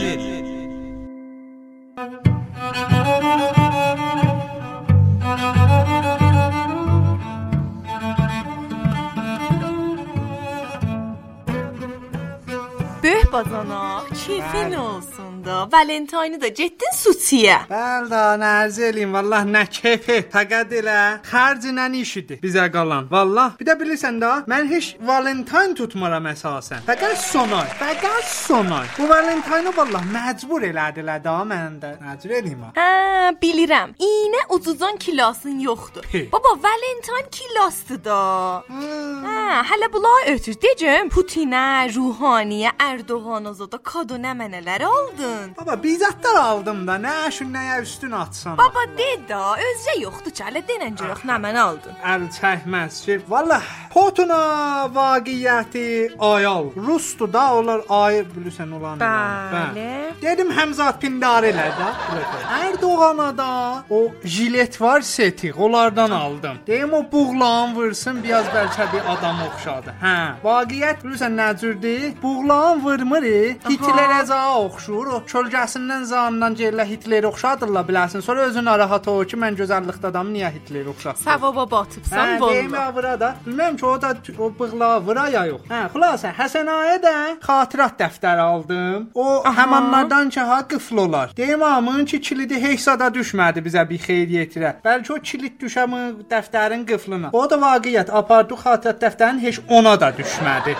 S4: Böyük bacanaq, keyfin olsun da Valentayını da getdin Suçiyə.
S3: Bəli, nərzə eləyim, vallah nə kefi. Fəqət elə xərcinə işidir bizə qalan. Vallah, bir də bilirsən də, mən heç Valentine tutmuram əsasən. Fəqət sonay, fəqət sonay. Bu Valentine-ı vallah məcbur elədilər də məndə. Məcbur eləyim. ha.
S4: Hə, bilirəm. İynə ucuzdan kilasın yoxdur.
S3: Hey.
S4: Baba, Valentine kilasdır da. Hə, hələ bunlar ötür. Deyəcəm, Putinə, Ruhaniyə, Erdoğana zada kado nə mənələr aldın?
S3: Baba, bizatlar aldım da, nə şun nəyə üstün atsan.
S4: Baba, de da, özcə yoxdur ki, hələ denən görək nə mənə aldın.
S3: əl çəkməz ki, vallah potuna vaqiəti ayal. Rusdu da onlar ay bilirsən olan. olan.
S4: Bəli.
S3: Bə. Dedim Həmzat Pindar elə də. Erdoğana da o jilet var seti onlardan aldım. Deyim o buğlan vursun biraz bəlkə bir adam oxşadı. Hə. Vaqiət bilirsən nəcürdür? Buğlan vurmur. Hitlerə za oxşur. O kölgəsindən zanından gəllə Hitlerə oxşadırlar biləsən. Sonra özün narahat olur ki, mən gözəllikdə adamı niyə Hitlerə oxşatdım?
S4: Savaba batıbsan,
S3: Hə, deyim
S4: bolla.
S3: avıra da. Bilmem ki o da t- o bığla vıra ya yox. Hə, xülasə Həsənaya da xatirət dəftəri aldım. O həmanlardan ki ha qıfıl olar. Deyim amın ki kilidi heysada düşmədi bizə bir xeyir yetirə. Bəlkə o kilit düşəmi dəftərin qıflına. O da vaqiət apardı xatirət dəftərin heç ona da düşmədi.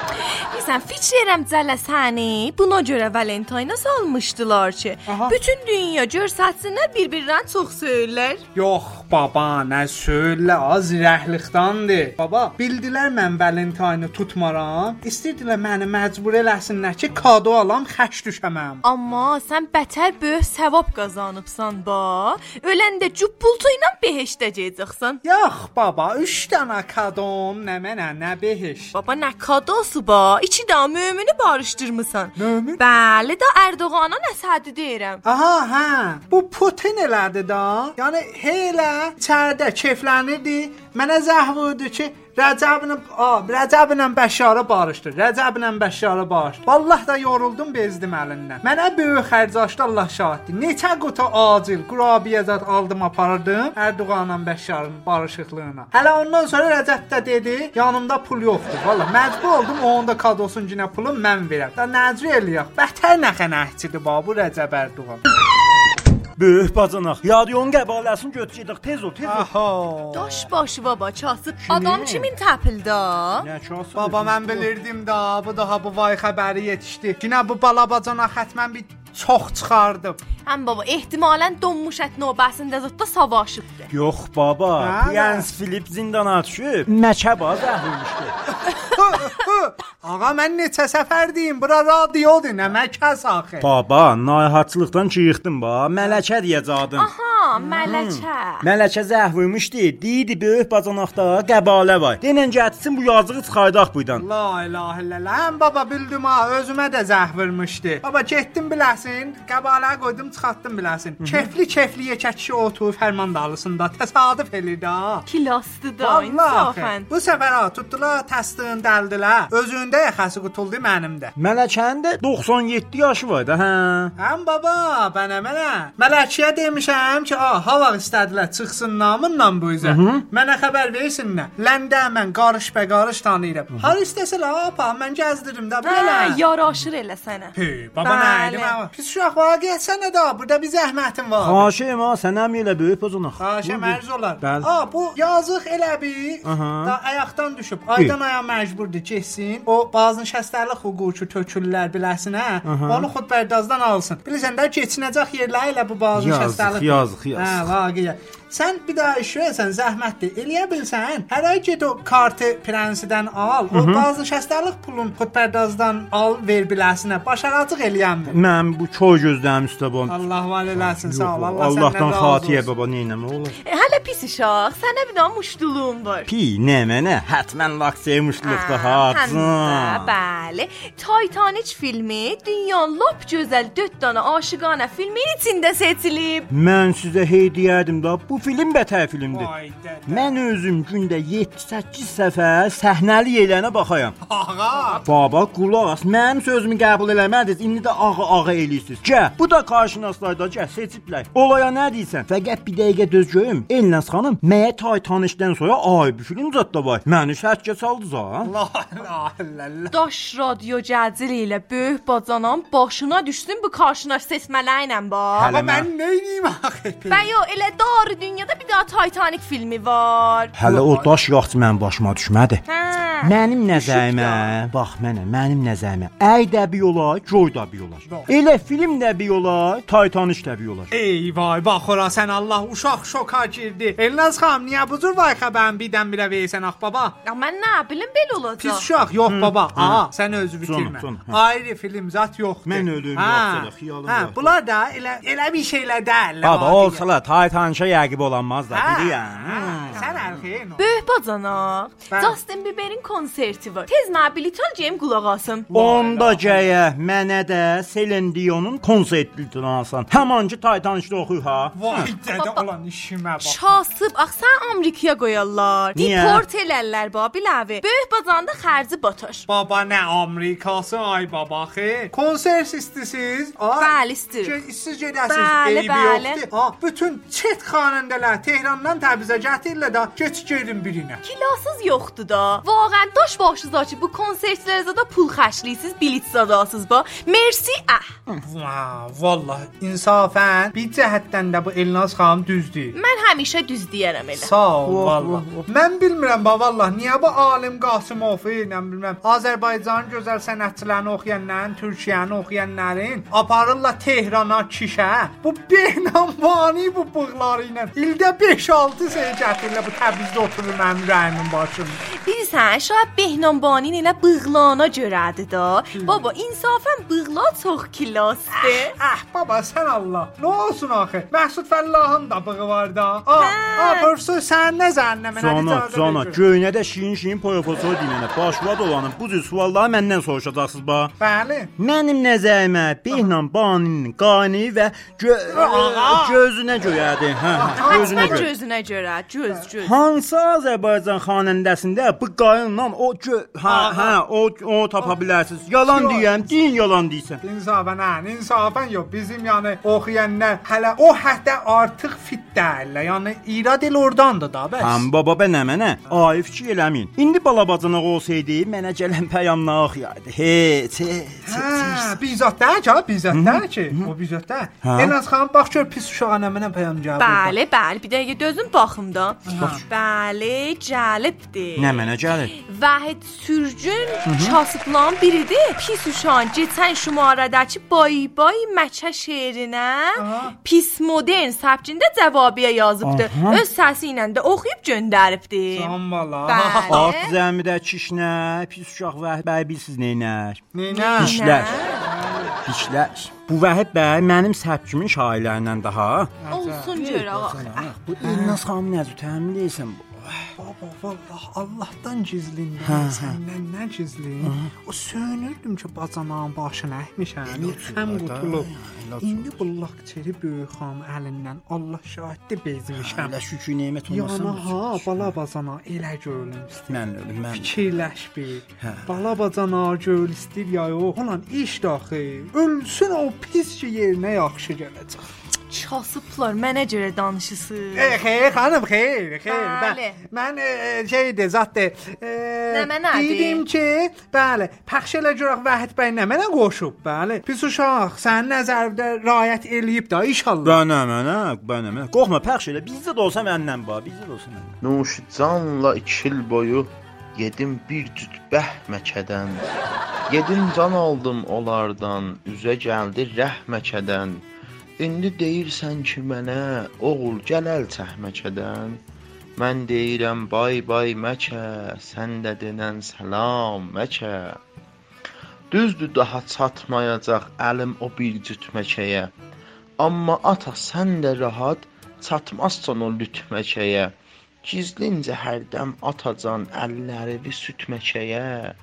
S4: Bilirsən, fikirlərim cələsəni. Buna görə Valentayna salmışdılar ki,
S3: Aha.
S4: bütün dünya görsətsinlər bir-birindən çox söylər.
S3: Yox baba, nə söylə, az rəhlikdandır. Baba, bildilər mən Valentine tutmaram. İstirdilər məni məcbur eləsinlər ki, kado alam, xəç düşəməm.
S4: Amma sən bətər böyük savab qazanıbsan ba. Öləndə cüb bultu ilə behiştə gedəcəksən.
S3: Yox baba, 3 dənə kadom, nə mənə, nə behişt.
S4: Baba nə kadosu ba? İçi də mömini barışdırmısan.
S3: Mömin?
S4: Bəli də Erdoğana nəsədi deyirəm.
S3: Aha, hə. Bu Putin elədi də. Yəni elə çərdə keflənirdi. Mənə zəh vurdu ki, Rəcəblə, a, Rəcəblə Bəşarı barışdır. Rəcəblə Bəşarı barış. Vallah da yoruldum bezdim əlindən. Mənə böyük xərc açdı Allah şahiddir. Neçə qutu acil qurabiyəzat aldım apardım Erdoğanla Bəşarın barışıqlığına. Hələ ondan sonra Rəcəb də dedi, yanımda pul yoxdur. Vallah məcbur oldum onun da kadosun günə pulu mən verəm. Da nəcür eləyək. Bətər nəxənəhçidir babu Rəcəb Erdoğan.
S2: Böyük bacanaq, yadyon qəbaləsini götürəcək, tez ol, tez ol.
S3: Aha.
S4: Daş başı baba çasıb adam kimin təpildə?
S2: Nə kasıb.
S3: Baba mən bilirdim da, bu daha bu vay xəbəri yetişdi. Günə bu balabacana xətmən bir çox çıxardım.
S4: Həm baba ehtimalən donmuş ət növbəsində zətdə savaşıbdı.
S2: Yox baba,
S3: Hə?
S2: Prens Filip zindana düşüb, məkəba zəhirmişdi.
S3: Ağa mən neçə səfər deyim, bura radiodur, nə məkas axı.
S2: Baba, narahatçılıqdan çiyixdim ba, mələkə deyəcədim.
S4: Ha, mələkə.
S2: Mələkə zəhvirmişdi, deyidi böyük bacanaqda qəbalə var. Denən gətsin bu yazığı çıxardaq buydan.
S3: La ilahe illallah. Həm baba bildim ha, özümə də zəh vurmuşdu. Baba getdim biləsin, qəbalə qoydum, çıxartdım biləsin. Kefli kefli yekəkşi oturub fərmandalısında təsadüf eləyir də.
S4: Kilasdı da
S3: Vallahi.
S4: insafən.
S3: Bu səfər ha, tutdular, təsdiqin dəldilər. Özündə yaxası qutuldu mənimdə.
S2: Mələkənin də 97 yaşı var da, hə.
S3: Həm baba, mənə mənə. Mələkiyə demişəm ki, a, hava istədilər çıxsın namınla bu üzə. Mənə xəbər versinlər. Ləndə mən qarış bə qarış tanıyıram. Hər istəsə la, apa, mən gəzdirim də belə.
S4: Hə, yaraşır elə sənə.
S3: Hey, baba nə
S4: Bəli.
S3: idi? baba? Pis uşaq var, getsənə də, burada bir zəhmətin var.
S2: Xaşim ha, sənəm elə böyük bacanaq.
S3: Xahişə mərz olar.
S2: Bəli.
S3: A, bu yazıq elə bir
S2: Aha.
S3: da ayaqdan düşüb. Aydan aya məcburdur getsin. O bazı şəxslərlə hüququ tökürlər biləsən hə. Onu xudbərdazdan alsın. Bilirsən də keçinəcək yerləri elə bu bazı
S2: Yazıq,
S3: şəxslərlə.
S2: yazıq, yazıq.
S3: Hə, vaqiə. Sən bir daha işləsən zəhmətdir. Eləyə bilsən, hər ay get o kartı prensidən al. O bazı şəxslərlik pulun xudbərdazdan al, ver biləsinə. Başaracaq eləyəmdir.
S2: Mən bu köy gözlərim üstə bu.
S3: Allah var eləsin.
S2: Yox,
S3: Sağ ol. Allah
S2: Allahdan
S3: səndən razı
S2: xatiyə
S3: olsun.
S2: baba, nə etmə olar?
S4: E, Hələ pis uşaq, sənə bir daha muşduluğum var.
S2: Pi, nə mənə? Hətmən vaksiyaymışlıqda
S4: Hə, həmdə,
S2: haqsın.
S4: Bəli. Titanic filmi dünyanın lap gözəl 4 dənə aşiqana filmin içində seçilib.
S2: Mən sizə hey deyərdim da bu film bətər filmdir.
S3: Vay dədə.
S2: Mən özüm gündə 7-8 səfər səhnəli yelənə baxayam.
S3: Ağa,
S2: Baba, qulaq as. Mənim sözümü qəbul eləmədiniz. İndi də ağa ağa eləyirsiniz. Gəl, bu da qarşınaslayda gəl, seçiblər. Olaya nə deyirsən? Fəqət bir dəqiqə düz görüm. Elnaz xanım, məyə Titanicdən sonra ay bir film zətdə var. Məni şərtə çaldınız ha?
S3: la la la la.
S4: Daş radyo gəzili ilə böyük bacanan başına düşsün bu qarşına seçmələ ilə bax.
S2: Hələ
S3: Ağa
S2: nə?
S3: mən neyniyim axı?
S4: Bəyo elə dar dünyada bir daha Titanic filmi var.
S2: Hələ o daş yağçı mənim başıma düşmədi.
S4: Hə.
S2: Mənim nəzərimə, bax mənə, mənim nəzərimə. Əy də bir yola, göy də bir yola. Elə film də bir yola, Titanic də bir yola.
S3: Ey vay bak sen Allah uşak şoka girdi. Elnaz xam niye bu tür vay xəbərin birden bire versen ah baba?
S4: Ya mən nə bilim belə
S3: Pis
S4: olacaq.
S3: uşaq yox baba. Aha sen özü
S2: Sonra,
S3: bitirme.
S2: sonra, hə.
S3: Ayrı film zat yoxdur.
S2: Mən ölüm,
S3: Ha,
S2: yoxsa da xiyalım
S3: ha,
S2: yoxdur.
S3: Bunlar da elə elə Hə. bir şeyler derler.
S2: Baba, olsalar Titanicə yəqib olanmaz da, bilirəm.
S3: Ah, Sen erkeğin ol.
S4: Böyük bacanaq.
S3: Bəli.
S4: Justin Bieber'in konserti var. Tez nə bilet alacağım qulaq asım.
S2: Onda gəyə mənə də Selin Dion'un konsertini alsan. Həmanki Titanicdə oxuyur ha.
S3: Vay dədə olan işimə bax.
S4: Çasıb axsan Amerikaya qoyarlar.
S2: Niyə?
S4: Deport elərlər ba biləvi. Böyük bacanda xərci batar.
S3: Baba nə Amerikası ay baba xeyr. Konsert istisiz? Ay,
S4: Bəli, istir.
S3: ge- İstiz gedəsiz.
S4: Bəli,
S3: eybi
S4: bəli.
S3: yoxdur. Ha, bütün çet xanəndələr Tehrandan Təbrizə gətirirlər də keç gedin birinə.
S4: Kilasız yoxdur da. Vaqən daş başınız açıb bu konsertlərə zada pul xərcləyirsiz, bilet zadasız ba. Mersi ah.
S3: Va, vallahi insafən bir cəhətdən də bu Elnaz xanım düzdür.
S4: Mən həmişə düz deyərəm elə.
S3: Sağ ol vallahi. Mən bilmirəm ba vallahi niyə bu Alim Qasımov ilə bilmirəm. Azərbaycanın gözəl sənətçilərini oxuyanların, Türkiyəni oxuyanların aparırlar Tehrana kişə. Bu beynambani bu bığları ilə ildə 5-6 sey gətirirlər bu Təbrizdə oturur mənim rəyimin başında.
S4: Bilirsən, şahab Behnambanin elə bığlana görədir da. Baba, insafən bığla çox kilasdır.
S3: Ah baba sən Allah. Nə olsun axı? Məhsud Fəllahın da bığı var da. Ah,
S4: Hə.
S3: ah pörsü sən nə zənnəmə nə
S2: Cana,
S3: icazə
S2: cana,
S3: verir?
S2: göynə də şirin-şirin professor dinlənə. Başvad olanın bu cür sualları məndən soruşacaqsınız bax.
S3: Bəli.
S2: Mənim nəzərimə Behnan Baninin qani və gö
S3: Aha.
S2: gözünə görədir. Hə, hə, gözünə
S4: Hətta
S2: görə.
S4: gözünə görə, göz, göz.
S2: Hansı Azərbaycan xanəndəsində bu qayınla o gö hə, hə, o o tapa bilərsiniz. Yalan deyirəm, din yalan deyirsən.
S3: İnsafən hə, insafən yox. Bizim yəni oxuyanlar hələ o həddə artıq fit deyillər. Yəni irad el ordandır da bəs.
S2: Həm baba bə nə mənə? Ayif ki eləmin. İndi balabacanaq olsaydı mənə gələn peyamla oxuyardı. Heç, heç, heç.
S3: Hə, bizzat da ki, bizzat da ki. O bizzat da.
S2: Hə.
S3: Elnaz xan bax gör pis uşağa nə mənə peyam gəldi.
S4: Bəli, bəli, bir dəqiqə dözün baxım da. Bəli, cəlibdir.
S2: Nə mənə gəlir?
S4: Vahid sürgün çasıqlan biridir. Pis uşan keçən şumarədəki bay bay məçə şeirinə pis modern səbcində cəvabiyə yazıbdı. Öz səsi ilə də oxuyub göndəribdi.
S3: Tam valla.
S4: Bəli.
S2: At zəmidə kişnə, pis uşaq Vahid bəy bilsiz neynər?
S3: Neynə?
S2: Dişlər. Dişlər. Bu Vahid bəy mənim səbkimin şairlərindən daha.
S4: Olsun görə ax.
S2: Bu İlnaz xanım nəzü təmin deyilsən bu.
S3: Baba vallahi Allahdan
S2: Hə,
S3: gizlindim. Səndən nə gizlin? O söyünürdüm ki, bacanağın başına əkmişəm. Həm qutulub. İndi bu lakçeri böyük xam əlindən Allah şahiddir bezmişəm.
S2: Hələ şükür Hə, nemət olmasın. Hə.
S3: Yana ha, bala bacana elə görünüm istəyir.
S2: Mən ölüm, mən. Hə.
S3: Fikirləş bir. Bala bacana gör istəyir ya yox. Olan iş daxı. Ölsün o pis ki yerinə yaxşı gələcək.
S4: Çasıblar mənə görə danışısız.
S3: Ey xeyr xanım, xeyr, xeyr.
S4: Bəli.
S3: Bə- Mən e, e, şeydir, zətdir.
S4: Nə mənə adı?
S3: eh, Dedim ki, bəli, pəxş elə görək Vahid bəy nə mənə qoşub, bəli. Pis uşaq, sənin nəzərdə riayət eləyib də inşallah.
S2: Bənə mənə, bənə mənə. Qorxma pəxş elə. Bizdə də olsa məndən bax, bizdə də olsa məndən.
S7: Nuşcanla iki il boyu yedim bir cüt bəhməkədən. Yedim can aldım onlardan, üzə gəldi rəhməkədən. İndi deyirsən ki mənə, oğul gəl əl çəhməkədən. Mən deyirəm bay bay məkə, sən də denən salam məkə. Düzdür daha çatmayacaq əlim o bir cüt məkəyə. Amma ata sən də rahat çatmazsan o lüt məkəyə. Gizlincə hərdən atacan əlləri bir süt məkəyə.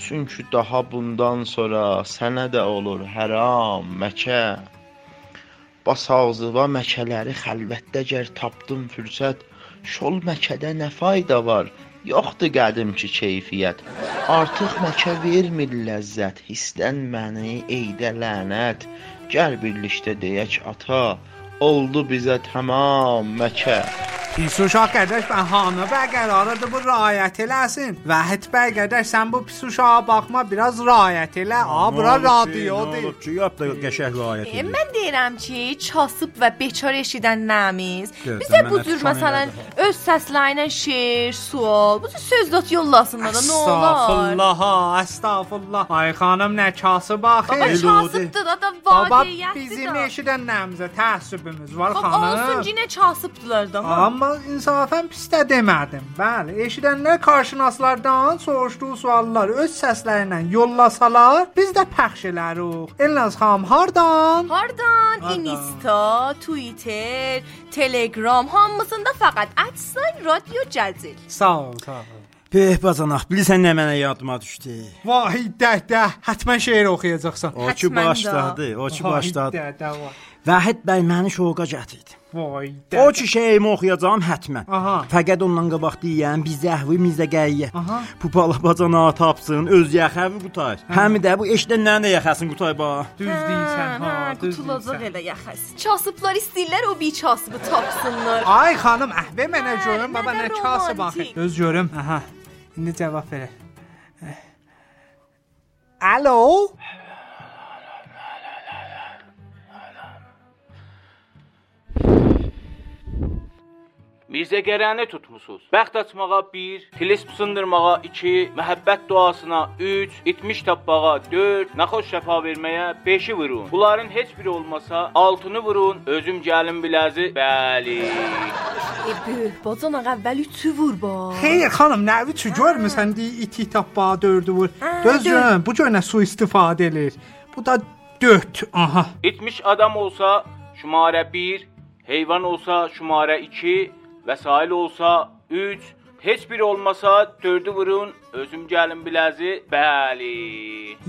S7: Çünki daha bundan sonra sənə də olur həram məkə. Bas ağzıva məkələri xəlvətdə gər tapdım fürsət, şol məkədə nə fayda var? Yoxdur qədimki keyfiyyət. Artıq məkə vermir ləzzət, hisdən məni eydə lənət. Gəl birlikdə deyək ata, oldu bizə tamam məkə.
S3: Pisuşa qardaş ben hanı bəy qərarıdır bu rayət eləsin. Vahid bəy qardaş sən bu pisuşa baxma biraz rayət elə. A bura radiodur.
S2: Ki, yap da qəşəng rəayət
S4: E,
S2: edin.
S4: Mən deyirəm ki, kasıb və bekar eşidən nəmiz.
S2: Evet,
S4: Bizə
S2: mən
S4: bu
S2: hep
S4: cür
S2: şan
S4: məsələn öz səsləyinə şeir, sual, bu cür sözlət yollasınlar da nə olar?
S3: Estağfurullah, ha, estağfurullah. Ay xanım nə kası
S4: Baba
S2: Elə
S3: baxır.
S4: kasıbdır da da
S3: Baba
S4: vaqiyyətdir
S3: bizim
S4: da.
S3: eşidən nəmizə təəssübümüz var
S4: Baba
S3: xanım.
S4: olsun yenə kasıbdırlar da. ama.
S3: Amma insafən pis də demədim. Bəli, eşidənlər qarşınaslardan soruşduğu sualları öz səslərlə yollasalar, biz də pəxş elərik. Elnaz xanım hardan?
S4: Hardan,
S3: Hardan.
S4: Insta, Twitter, Telegram hamısında faqat @sign radio cəzil.
S3: Sağ ol, sağ ol.
S2: Peh bazanaq, bilirsən nə mənə yadıma düşdü?
S3: Vay dəh dəh, həttəmən şeir oxuyacaqsan.
S2: O ki
S4: Həttəmən də.
S2: başladı, o ki başladı.
S3: Vay dəh dəh, vay.
S2: Vahid bəy məni şoqa gətirdi.
S3: Vay dəh.
S2: O ki şeyimi oxuyacağam hətmən.
S3: Aha.
S2: Fəqət ondan qabaq deyən biz zəhvi mizə gəyiyə.
S3: Aha.
S2: Bu bala bacana tapsın, öz yaxəvi qutay. Həmi də bu eşidənlərin də yaxasın qutay ba.
S3: Düz deyirsən, ha, düz
S4: qutulacaq
S3: deyirsən.
S4: elə yaxası. Kasıblar istəyirlər o bir kasıbı tapsınlar.
S3: Ay xanım, əhvə mənə
S4: Hə,
S3: görüm, baba
S4: mənə
S3: nə kası baxır.
S4: romantik.
S3: Öz görüm. Aha. İndi cavab verər. Eh. Alo?
S1: Mirzə Qərəni tutmusunuz. Bəxt açmağa 1, tilisp sındırmağa 2, məhəbbət duasına 3, itmiş tapbağa 4, naxoş şəfa verməyə 5-i vurun. Bunların heç biri olmasa 6-nı vurun. Özüm gəlin biləzi. Bəli.
S4: E, böyük bacan ağa əvvəl üçü vur bax.
S3: Xeyr xanım, nəvi çü görmüsən di iti tapbağa dördü vur.
S4: Ha,
S3: Gözüm, bu görə su istifadə elir. Bu da dört. Aha.
S1: İtmiş adam olsa şumarə 1, heyvan olsa şumarə 2, vəsail olsa 3, heç biri olmasa 4-ü vurun. Özüm gəlin biləzi. Bəli.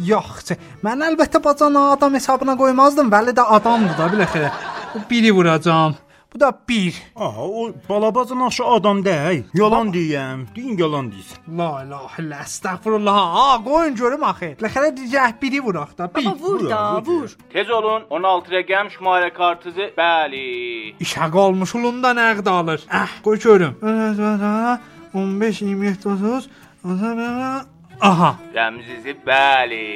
S3: Yoxsa mən əlbəttə bacana adam hesabına qoymazdım, vəli də adamdır da bilə xeyr. Bu biri vuracağam. Bu da bir.
S2: Aha, o bala bacana aşı adam deyil. Yalan deyəm. Deyin yalan deyirsən.
S3: La ilahe illallah, estağfurullah. A, qoyun görüm axı. Ləxərə deyəcək biri vuraq da. Bir.
S4: Baba vur da, vur.
S1: Tez olun 16 rəqəm şumarə kartınızı bəli.
S3: İşə qalmış ulun da nəqd alır. Əh, qoy görüm. 15 27 30. Aha.
S1: Rəmzinizi bəli.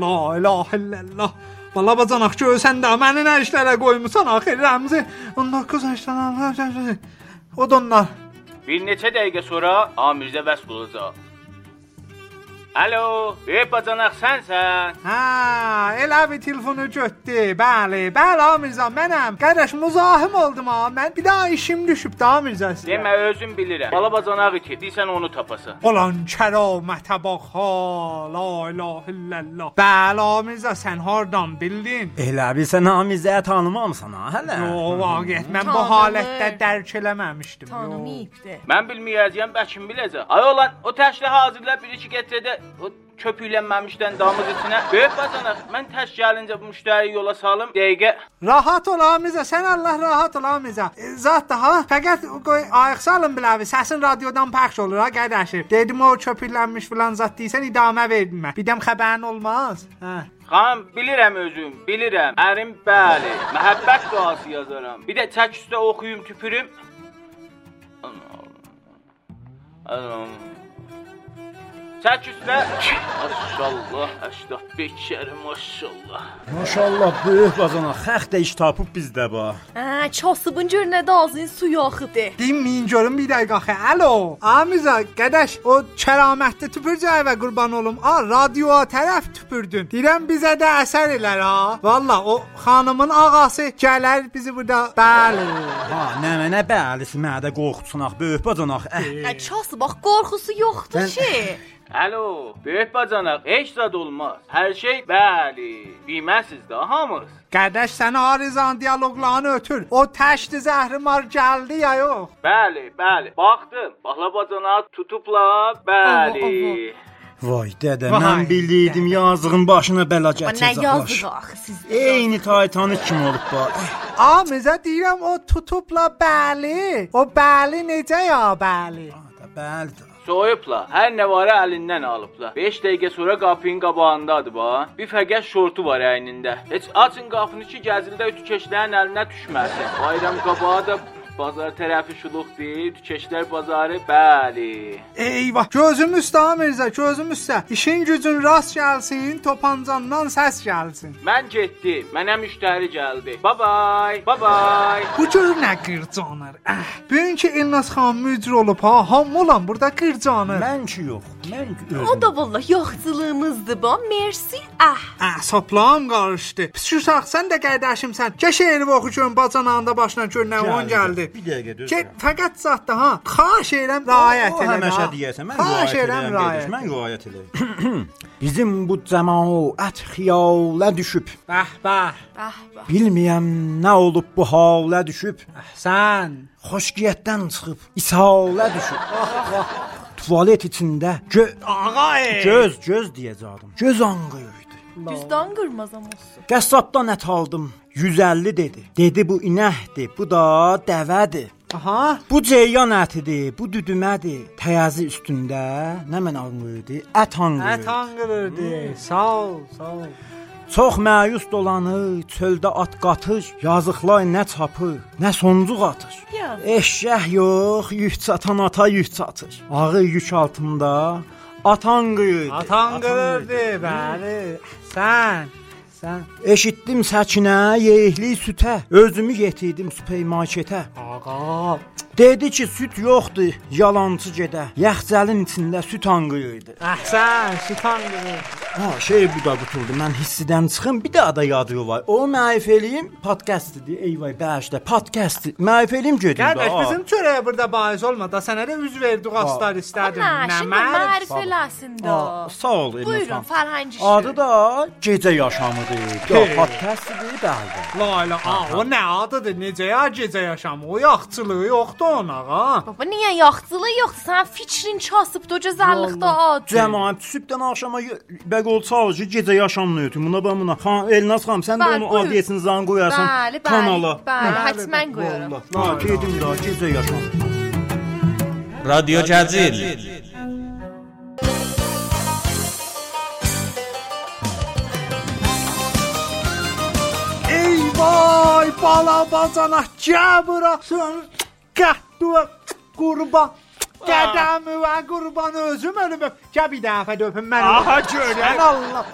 S3: La ilahe illallah. Bala bacanaq görsən də məni nə işlərə qoymusan axı Rəmzi. 19 yaşdan. O da onlar.
S1: Bir neçə dəqiqə sonra Amirzə vəsb olacaq. Alo, ey bacanaq sənsən?
S3: Hə? Ha, elə bir telefonu götdü. Bəli, bəli Amirza mənəm. Qardaş muzahim oldum ha. Mən bir daha işim düşüb də Amirza sizə.
S1: Demə özün bilirəm. Bala bacanaq ki, deyirsən onu tapasan.
S3: Olan kəramətə bax ha, la ilahe illallah. Bəli Amirza sən hardan bildin?
S2: Elə bilsən Amizə tanımamısan ha hələ.
S3: Yo, vaqiət mən bu
S4: Tanınır.
S3: halətdə dərk eləməmişdim. yo.
S4: Tanımayıbdı.
S1: Mən bilməyəcəyəm, bəkim biləcək. Ay olan, o təşlə hazırla bir iki gətirədə o köpüklənməmişdən damız içinə. Böyük bacanaq, mən təş gəlincə bu müştəriyi yola salım. Dəqiqə
S3: Rahat ol Amirza, sən Allah rahat ol Amirza. E, Zat da ha, fəqət qoy ayaq salın biləvi, səsin radiodan pəxş olur ha qardaşım. Dedim o köpüklənmiş filan zat deyirsən idamə vermə. Birdən xəbərin olmaz. Hə.
S1: Xan, bilirəm özüm, bilirəm. Ərim bəli, məhəbbət duası yazaram. Bir də çək üstə oxuyum, tüpürüm. Anam. Çək üstə. Maşallah, 85 kərə maşallah.
S2: Maşallah böyük bacana xəx də iş tapıb bizdə ba.
S4: Hə, kasıbın gör nə də ağzın suyu axıdı.
S3: Dinməyin görüm bir dəqiqə axı. Alo. Amirza, qardaş, o kəramətdə tüpürcəyə və qurban olum. A, radioya tərəf tüpürdün. Deyirəm bizə də əsər elər ha. Valla o xanımın ağası gələr bizi burada. Bəli.
S2: Ha, nə mənə bəlisi mədə qorxutsunaq böyük bacana. Əh,
S4: Hə, kasıb bax qorxusu yoxdur ki.
S1: Alo, böyük bacanaq, heç zad olmaz. Hər şey bəli. Bilməsiz də hamınız.
S3: Qardaş, sən Arizan dialoqlarını ötür. O təşdi zəhrimar gəldi ya yox?
S1: Bəli, bəli. Baxdım. Bahlabacanağı tutublar. Bəli.
S4: Oho, oho.
S2: Vay dədə,
S3: Vay,
S2: mən bilirdim yazığın başına bəla
S4: Nə
S2: gətirəcəklər.
S4: yazıq axı sizdə.
S2: Eyni taytanı kim olub bax.
S3: A mizə deyirəm o tutubla bəli. O bəli necə ya bəli?
S2: Bəli. də.
S8: Soyubla, hər nə varı əlindən alıbla. 5 dəqiqə sonra qapının qabağındadır ba. Bir fəqət şortu var əynində. Heç açın qapını ki, gəzildə ütükeşlərin əlinə düşməsin. Bayram qabağı da bazar tərəfi şuluq deyil, ütükeşlər bazarı bəli.
S3: Eyvah. Gözüm üstə ha Mirzə, gözüm üstə. İşin gücün rast gəlsin, topancandan səs gəlsin.
S8: Mən getdim, mənə müştəri gəldi. Bye bye, bye bye.
S3: Bu gör nə qırcanır. Əh, bugünkü Elnas xan müdür olub ha. Hamı olan burada qırcanır.
S2: Mən ki yox. Mən ki özüm.
S4: O da vallah yoxculuğumuzdu bu. Mersi. Ah.
S3: Əsablam qarışdı. Pis uşaq, sən də qardaşımsan. Gəş şeiri oxu görüm bacanağında başına gör nə on Hə, gəldi.
S2: Bir dəqiqə düz.
S3: Get fəqət zətdə ha. Xahiş edirəm riayət elə.
S2: Həmişə deyəsən, mən
S3: Xahiş
S2: riayət
S3: edirəm
S2: edirəm, qardaş,
S3: riayət.
S2: mən riayət edirəm. Bizim bu cəmaət xiyalə düşüb.
S3: Bəh bəh.
S4: Ah, bax.
S2: Bilməyəm nə olub bu halə düşüb.
S3: Sən
S2: Xoşgiyyətdən çıxıb ishalə düşüb. Tualet içində gö
S3: Ağay.
S2: göz göz deyəcəydim. Göz anqıyırdı.
S4: Düzdan qırmazam olsun.
S2: Qəssabdan ət aldım. 150 dedi. Dedi bu inəhdir, bu da dəvədir.
S3: Aha.
S2: Bu ceyyan ətidir, bu düdümədir. Təyazi üstündə nə mən anqıyırdı? Ət anqıyırdı.
S3: Ət anqırırdı. Sağ ol, sağ ol.
S2: Çox məyus dolanır, çöldə at qatır, yazıqlar nə çapır, nə soncuq atır.
S4: Ya.
S2: Eşşək yox, yük çatan ata yük çatır. Ağı yük altında atan qıyır.
S3: Ət anqırırdı, bəli. Sən sən
S2: Eşitdim səkinə, yeyikli sütə, özümü yetirdim supermarketə.
S3: ağa.
S2: Dedi ki, süt yoxdur, yalançı gedə. Yaxcəlin içində süt anqıyırdı.
S3: Əhsən, süt anqırır.
S2: Ha, şey bu da qutuldu. Mən hissidən çıxım, bir daha da yadığı var. O məyif eləyim, podkastdir. Eyvay, bəşdə, podkastdir. Məyif eləyim gedir.
S3: Qardaş, bizim çörəyə burada bahis olma da sənə də üz verdi qaslar istədim.
S4: Ana,
S3: Nə
S4: şimdi
S3: mərd.
S4: marif eləsin də.
S2: Aa, sağ ol
S4: Buyurun,
S2: Elnarxan.
S4: Farhancı.
S2: Adı da Gecə Yaşamıdır. Yox,
S3: Hey.
S2: podkastdir bəli.
S3: La la, a, o nə adıdır? Necə ya gecə yaşamı? O yaxçılığı yoxdur ona, ha?
S4: Baba niyə yaxçılığı yoxdur? Sən fikrin çasıbdı o cəzarlıqda ad.
S2: Cəmaət sübhdən axşama y- bəqol çalıcı gecə yaşamlıydı. Buna bax buna. Xan Elnaz xan, sən də
S4: Bəli,
S2: onu
S4: buyur.
S2: adiyyəsin zan qoyasan
S4: Bəli, bəli,
S2: kanala.
S4: bəli, Hə. həttəmən qoyuram.
S2: Ha, dedim da gecə yaşam.
S9: رادیو جزیل
S3: Ey vay, bala bacana, gəl bura. Sən qəhdu qurban. Qədəmi və qurban özüm ölümüm. Gəl bir dəfə də öpüm məni.
S9: Aha, görürəm.
S3: Sən Allah.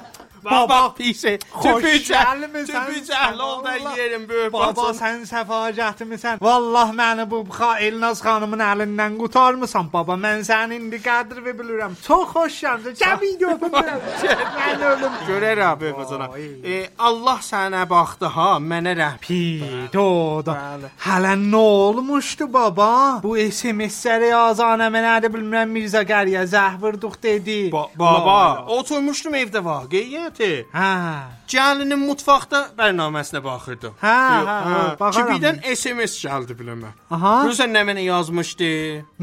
S9: بابا پیشه تو
S3: Xoş
S9: پیچه
S3: gəlmisən,
S9: تو پیچه
S3: sən
S9: احلال
S3: Allah.
S9: در yerim böyük
S3: Baba
S9: bacım.
S3: sən səfacətimisən. Vallah məni bu xa Elnaz xanımın əlindən qurtarmısan baba. Mən səni indi qədir və bilirəm. Çox xoşam. Cəmi öpüm. Mən ölüm.
S9: Görərəm böyük bacana.
S3: Ay.
S9: E, Allah sənə baxdı ha, mənə rəhmət.
S3: Pidoda. Hələ nə olmuşdu baba? Bu SMS-ləri yazana mənə də bilmirəm Mirzə Qəriyə zəhvurduq dedi.
S9: Ba- Baba, oturmuşdum evdə vaqiyyəti.
S3: Hə.
S9: Gəlinin mutfaqda bəyannaməsinə baxırdım.
S3: Hə, hə, hə, baxaram.
S9: Kibidən SMS gəldi biləmə.
S3: Aha.
S9: Görürsən nə mənə yazmışdı?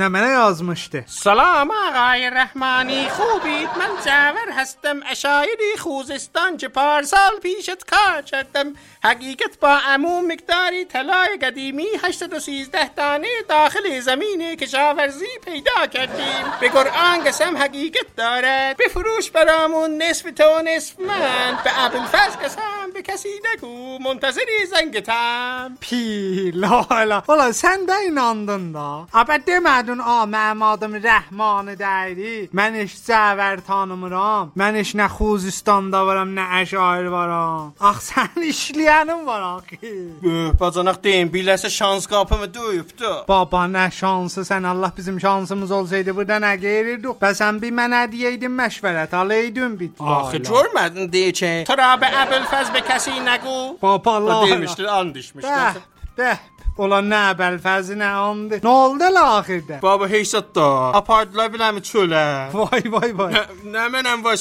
S3: Nə mənə yazmışdı?
S9: سلام آقای رحمانی خوبید من جعور هستم اشایری خوزستان که پارسال پیشت کار کردم حقیقت با امو مقداری طلای قدیمی 813 دانه داخل زمین کشاورزی پیدا کردیم به قرآن قسم حقیقت دارد بفروش برامون نصف تو نصف من به ابوالفضل قسم به کسی نگو منتظری زنگتم
S3: Pi, la la. Ola sən də inandın da. Abə demədin, a mənim adım Rəhmanı dəyri. Mən heç Cəvər tanımıram. Mən heç nə Xuzistanda varam, nə Əşair varam. Ax sən işləyənin var axı.
S9: Böyük bacanaq deyim, biləsə şans qapımı döyübdü.
S3: Baba nə şansı sən Allah bizim şansımız olsaydı burada nə qeyrirdik. Bəsən bir mənə deyəydin məşvərət alaydın bir.
S9: Axı görmədin deyə ki, Turabi Əbülfəz be kəsi nəqu.
S3: Baba la.
S9: Demişdir, and içmişdir.
S3: Bəh, bəh. Ola nə bəlfəzi nə andı. Nə oldu la axırda?
S9: Baba heysatda apardılar bilemi çölə.
S3: Vay vay vay.
S9: Nə, nə mənəm var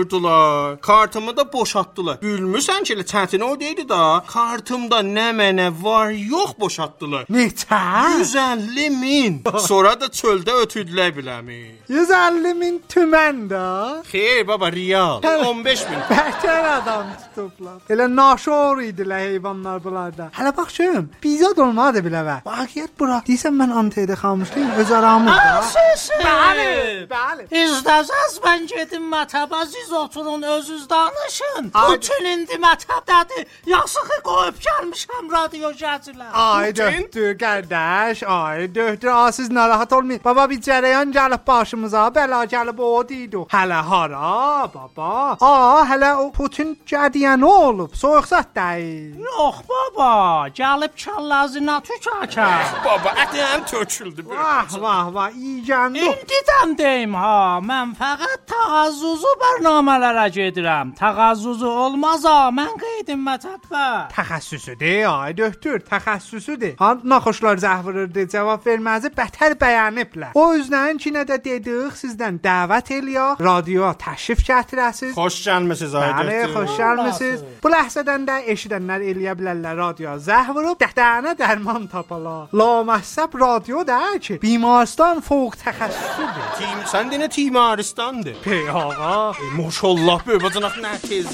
S9: soyundurdular. Kartımı da boşaltdılar. Bilmirsən ki, elə çətin oradaydı da. Kartımda nə mənə var, yox boşaltdılar.
S3: Neçə?
S9: 150 min. Sonra da çöldə ötürdülər biləmi.
S3: 150 min tümən də.
S9: Xeyr baba, riyal.
S3: Hə.
S9: 15 min.
S3: Bəhter adam tutublar. Elə naşor idilər heyvanlar bunlarda. Hələ bax şöyüm, bizad olmadı bilə və. Vaqiyyət bura. Deyirsən mən anteydə xamışlıyım, öz aramızda.
S10: Bəli.
S3: Bəli.
S10: İstəsəz mən gedim mətəbə siz oturun özünüz danışın.
S3: Ay-
S10: Bütün indi mətəbdədir. Yaxşıqı qoyub gəlmişəm radio gəzirlər.
S3: Ay döhdü qardaş, ay döhdü. A siz narahat olmayın. Baba bir cərəyan gəlib başımıza, bəla gəlib o deyildi. Hələ hara baba? A hələ o Putin gədiyən olub, soyuqsat deyil.
S10: Yox baba, gəlib kəllazına tükəkə.
S9: Baba, ətim töküldü.
S3: Vah vah vah, iyi gəldi.
S10: İndidən deyim ha, mən fəqət təğazzuzu proqramlara gedirəm. Təğazzuzu olmazsa mən qeydim mətəbə.
S3: Təxəssüsüdür, ay döktür, təxəssüsüdür. Hand naxoşlar zəhvırırdı, cavab verməzi bətər bəyəniblər. O üzdən ki nə də dedik, sizdən dəvət eləyək, radioya təşrif gətirəsiz.
S9: Xoş gəlmisiniz
S3: Bəli,
S9: Aydəttin.
S3: xoş gəlmisiniz. Bu ləhsədən də eşidənlər eləyə bilərlər radioya zəhv vurub dəhtənə dərman tapalar. Laməhsəb radio da ki, bimaristan fوق təxəssüsüdür.
S9: Tim, sən də nə timaristandır?
S3: Pey ağa,
S9: Ey, Maşallah, böyük bacanaq nə tez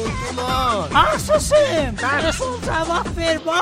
S9: zəhvurdular.
S10: Axsısın, qarışıl cavab ver ba.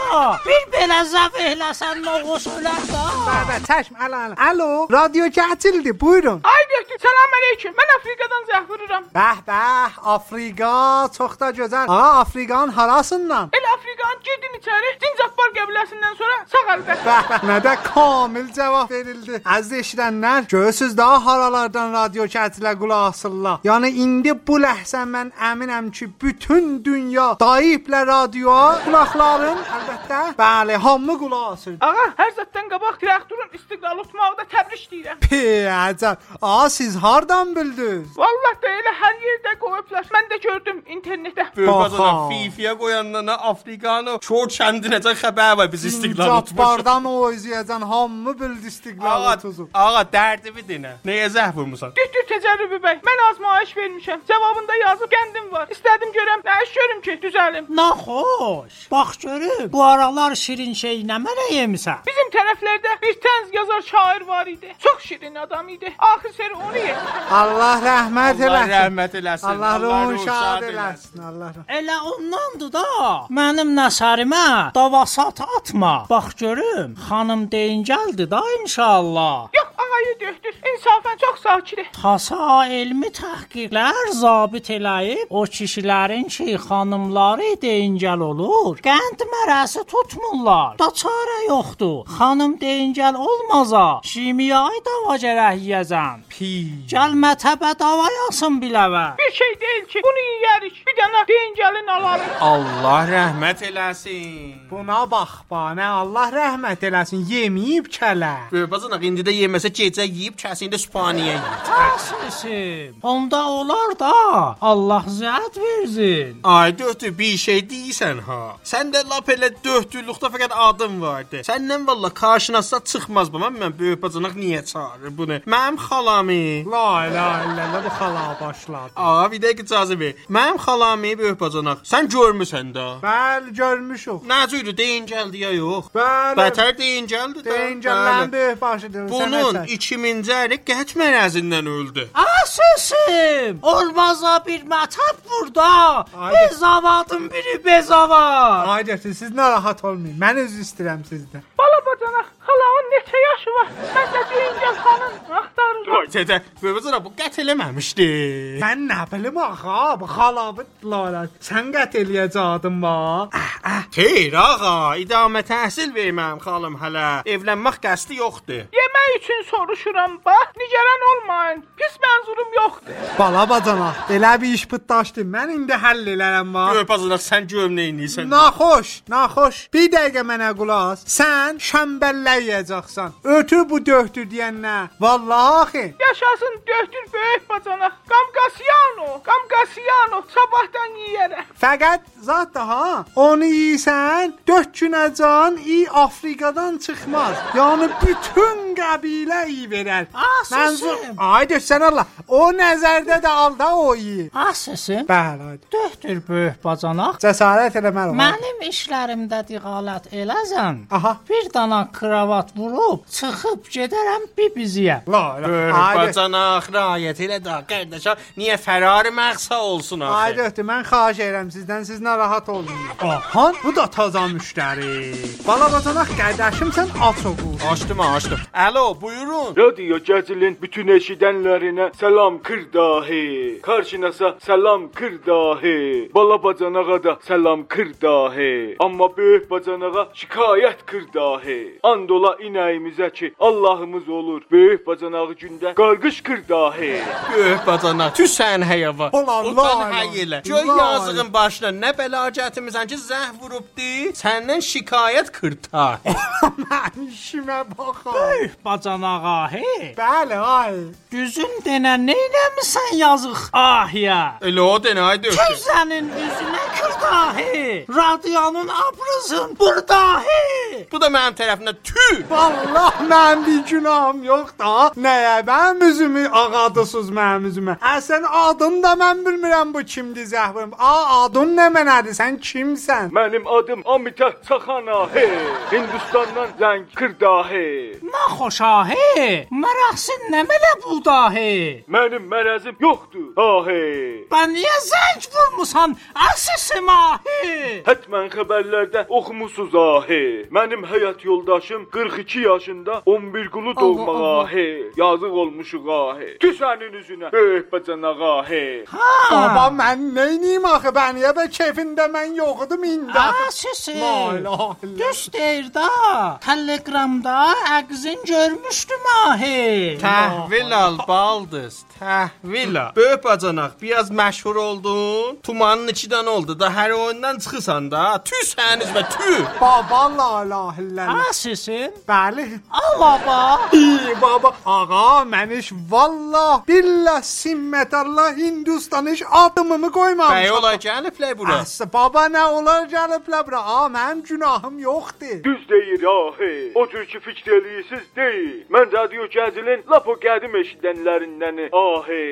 S10: Bir belə zəf eləsən nə qoşular da.
S3: bəbə çəşm ələ ələ. Alo, radio kətildi, buyurun.
S11: Aybəkdir, salam əleyküm. Mən Afrikadan zəhvururam.
S3: Bəh bəh, Afrika çox da gözəl. Ana Afrikanın harasından?
S11: El Afrikan girdim içəri. Zincapbar qəbiləsindən sonra sağ əlbət.
S3: Bəh bəh, nə də kamil cavab verildi. Əziz eşidənlər, görürsüz daha haralardan radio kətlə qulaq asırlar. Yəni indi bu ləhzə mən əminəm ki, bütün dünya dayiblə radio qulaqların əlbəttə bəli, hamı qulaq asır.
S11: Ağa, hər zətdən qabaq traktorun istiqlal tutmaqda təbrik deyirəm.
S3: Pey, əcəb. A siz hardan bildiniz?
S11: Vallah da elə hər yerdə qoyublar. Mən də gördüm internetdə.
S9: Böyük bacanaq
S3: Aha.
S9: Fifiyə qoyandan Afrikanı çor kəndinəcən xəbər var biz istiqlal tutmuşuq.
S3: Cabbardan o izləyəcən hamı bildi istiqlalı
S9: Ağa,
S3: tuzu.
S9: ağa dərdimi dinə. Nəyə zəhv vurmusan?
S11: Düzdür təcərrübü bəy. Mən azmayış vermişəm. Cavabında yazıb qəndim var. İstədim görəm, nə iş görüm ki, düzəlim.
S10: Naxoş. Bax görüm, bu aralar şirin şey nə mənə yemisən?
S11: Bizim tərəflərdə bir tənz yazar şair var idi. Çox şirin adam idi. Axır seri onu yemişəm.
S3: Allah rəhmət
S9: Allah
S3: eləsin.
S9: rəhmət eləsin.
S3: Allah ruhun şad
S9: şad
S3: eləsin. Allah rəhmət.
S10: Elə ondandır da. Mənim nəsarimə davasat atma. Bax görüm, xanım deyin gəldi da inşallah.
S11: Yox, ağayı döhdür. İnsafən çox sakitdir.
S10: Tasa elmi təhqiqlər zabit eləyib, o kişilərin ki, xanımları deyincəl olur, qənd mərəsi tutmurlar. Da çarə yoxdur. Xanım deyincəl olmaza, kimyayı dava gərək yeyəsən.
S9: Pi.
S10: Gəl mətəbə dava yasın biləvə.
S11: Bir şey deyil ki, bunu yeyərik. Bir dənə deyin gəlin alarıq.
S9: Allah rəhmət eləsin.
S3: Buna bax, bana Allah rəhmət eləsin, yeməyib kələ.
S9: Böyük bacanaq indi də yeməsə gecə yeyib kəsində Spaniyaya.
S10: Təsisim. Onda olar da Allah zəhət versin.
S9: Ay döhtü bir şey deyirsən ha. Sən də lap elə döhtülükdə fəqət adın vardı. Səndən valla qarşınasa çıxmaz bu. Mən mən böyük bacanaq niyə çağırır bunu? Mənim xalamı.
S3: La ilahe illallah bu xala başladı.
S9: Ağa bir dəqiqə icazə ver. Mənim xalamı böyük bacanaq. Sən görmüsən də.
S3: Bəli, görmüşük.
S9: Nə cürdü deyin gəldi ya yox?
S3: Bəli.
S9: Bətər deyin gəldi də.
S3: Deyəncələn
S9: Bəli.
S3: böyük başıdır.
S9: Bunun 2000-ci əli qət mərəzindən öldü.
S10: Asısım. Olmaza bir mətəb burada.
S3: Haydi.
S10: Bezavadın biri bezavad.
S3: Aydətdir, siz narahat olmayın. Mən özü istəyirəm sizdən.
S11: Bala bacanaq, xalanın neçə yaşı var? Mən də deyincəm xanım, axtarıram.
S9: Ay dədə, böyük bacanaq bu qət eləməmişdi.
S3: Mən nə bilim axı, bu xalavı lalət. Sən qət eləyəcədin va.
S9: Xeyr ağa, idamə təhsil verməyim xalım hələ. Evlənmək qəsdi yoxdur.
S11: Yemək üçün soruşuram, bax, nigaran olmayın. Pis mənzurum yoxdur.
S3: Bala bacana, elə bir iş pıtdaşdı. Mən indi həll elərəm va.
S9: Görpazlar sən gömləyinsən.
S3: Naxoş, naxoş. Bir dəqiqə mənə qulaq as. Sən şəmbəlləyəcəksən. Ötü bu döhdü deyən nə? Vallahi axı.
S11: Yaşasın döhtür böyük bacanaq, qamqasyan o. Kasiyano, Qamqasiyano sabahdan yeyərəm.
S3: Fəqət zat da ha, onu yeyirsən, 4 günəcən i Afrikadan çıxmaz. Yəni bütün qəbilə iyi verər.
S10: Ah, səsim.
S3: ay dösən Allah. O nəzərdə də al da o iyi.
S10: Ah, səsim.
S3: Bəli, ay.
S10: Döhdür böyük bacanaq.
S3: Cəsarət eləmə.
S10: Mənim işlərimdə diqqət eləsən.
S3: Aha.
S10: Bir dana kravat vurub çıxıb gedərəm bibiziyə.
S3: La,
S9: Bacanaq rayət elə də qardaşa niyə fərari məqsa olsun
S3: Ay
S9: axı?
S3: döhdür, mən xahiş edirəm sizdən, siz narahat olmayın. Aha, bu da taza müştəri. Bala bacanaq qardaşımsən, aç oğul.
S9: Açdım, açdım. Alo, buyurun.
S12: Radyo Gəzilin bütün eşidənlərinə salam kır dahi. Karşınasa salam kır dahi. Bala bacanağa da salam kır dahi. Amma böyük bacanağa şikayət kır dahi. Andola inəyimizə ki Allahımız olur. Böyük bacanağı gündə qarqış kır dahi.
S9: Böyük bacanaq, tüsən həyava.
S3: Ulan,
S9: Utan
S3: lan,
S9: həyilə.
S3: lan.
S9: Göy
S3: Lan.
S9: yazığın başına nə bəlacətimizən ki, zəh vurubdi. Səndən şikayət kırta.
S3: Mən Hə, işimə baxam.
S10: Böyük bacanağa, he.
S3: Bəli, ay.
S10: Düzün denə nə eləmisən yazıq ahya.
S9: Ah, Elə o də nə döktü?
S10: Küzənin üzünə kürdahi. Radionun abrızın burdahi.
S9: Bu da mənim tərəfimdən tü.
S3: Vallah mən bir günahım yox da. Nəyə mən üzümü ağadısız mənim üzümə? Əsən adını da mən bilmirəm bu kimdir zəhvim. A adın nə mənədir? Sən kimsən?
S12: Mənim adım Amitə Çaxanahi. Hindistandan zəng kır dahi.
S10: Nə xoşahi. Maraqsın nə belə budahi.
S12: Mənim mərəzim yoxdur. Dahi.
S10: Bən niyə zəng vurmusan? Əsəsim ahi.
S12: Hətmən xəbərlərdə oxumusuz ahi. Mənim həyat yoldaşım 42 yaşında 11 qulu doğmağa ahi. Yazıq olmuşuq ahi. Tüsənin üzünə böyük bacanaq ahi.
S3: Baba mən nə edeyim axı? Mən niyə bə kefində mən yoxdum indi?
S10: Əsəsim.
S3: Allah.
S10: Düz deyir da. Telegramda əqzin görmüşdüm ahi.
S9: Təhvil al baldız, təhvil al. Böyük bacanaq, biraz məşhur oldun. Tumanın içindən oldu da hər oyundan çıxırsan da. Tü səniz və tü.
S3: Baba la ilahe illallah.
S10: Əsəsim.
S3: Bəli.
S10: Al baba.
S3: İyi baba. Ağa mən iş vallah billah simmetallah Hindistan iş adımımı qoymamışam.
S9: Bəy ola gəliblər bura.
S3: Əsas baba nə olar gəliblər bura? A, mənim günahım yoxdur.
S12: Düz deyir ahi. O tür ki fikr eləyirsiniz deyil. Mən radio gəzilin lap o qədim eşidənlərindəni ahi.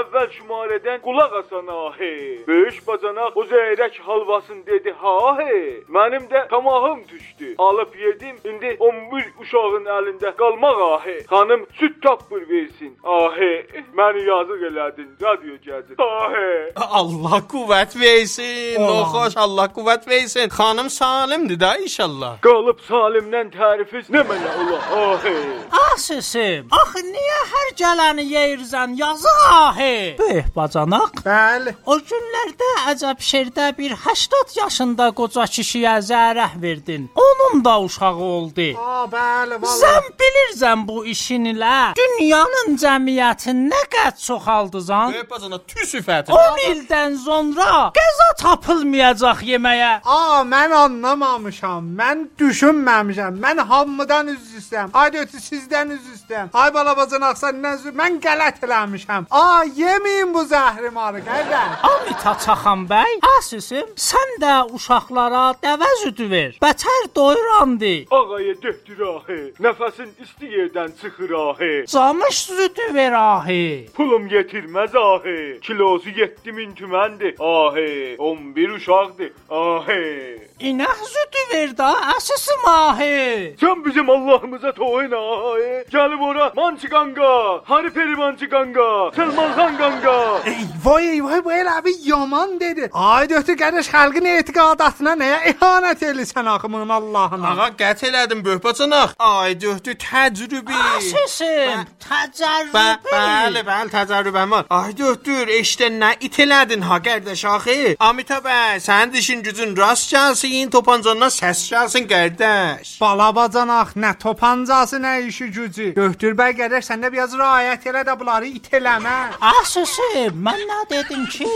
S12: Əvvəl şumarədən qulaq asan ahi. Böyük bacanaq o zeyrək halvasını dedi ahi. Mənim də tamahım düşdü. Alıb yedim. İndi 11 uşağın əlində qalmaq ahi. Xanım süd tapır versin. Ahi. Məni yazıq elədin radio gəzil. Ahi.
S9: Allah qüvvət versin. Noxoş Allah qüvvət versin. Xanım salimdir da inşallah.
S12: Qalıb salimdən tərifiz nə mənə ola ahi.
S10: Ah səsim, axı niyə hər gələni yeyirsən yazıq ahı? Böyük bacanaq.
S3: Bəli.
S10: O günlərdə əcəb şerdə bir 80 yaşında qoca kişiyə zərəh verdin. Onun da uşağı oldu.
S3: A, bəli, vallah.
S10: Sən bilirsən bu işin ilə dünyanın cəmiyyəti nə qədər çoxaldızan?
S9: Böyük bacanaq tü sifəti.
S10: 10 ildən sonra qəza tapılmayacaq yeməyə.
S3: A, mən anlamamışam. Mən düşünməmişəm. Mən hamıdan üzr istəyirəm. Ay dötü sizdən üzr istəyirəm. Ay balabacan axsan nə üzr? Mən qələt eləmişəm. A, yeməyin bu zəhri marı qardaş.
S10: Amita Çaxan bəy, əsəsim, sən də uşaqlara dəvə züdü ver. Bətər doyurandı.
S12: Ağaya döhdür ahi. Nəfəsin isti yerdən çıxır ahi.
S10: Camış züdü ver ahi.
S12: Pulum yetirməz ahi. Kilosu 7000 tüməndir. Ahi. 11 uşaqdır. Ahi.
S10: İnək züdü ver da əsəsim ahi.
S12: Sən bizim Allahımıza toyin ahi. Gəlib ora Mançıqanqa, Harif Erimançıqanqa, Selmanxan qanqa.
S3: Eyvay, eyvay, bu elə bir yaman dedi. Ay dötü qardaş xalqın etiqadatına nəyə ihanət eləyirsən axımın Allahına?
S9: Ağa qət elədim böyük bacanaq. Ay döhdü təcrübə.
S10: Əsəsim,
S9: Bə
S10: təcrübə.
S9: bəli, bəli, təcrübəm var. Ay döhdür, eşdə nə itələdin ha qardaş axı? Amita bəy, sənin dişin gücün rast gəlsin, topancandan səs gəlsin qardaş.
S3: Balabacanaq, nə topancası, nə işi gücü. Göhtür bəy gəlir, sən də biraz riayət elə də bunları it eləmə.
S10: Əsəsim, Ah, mən nə dedim ki?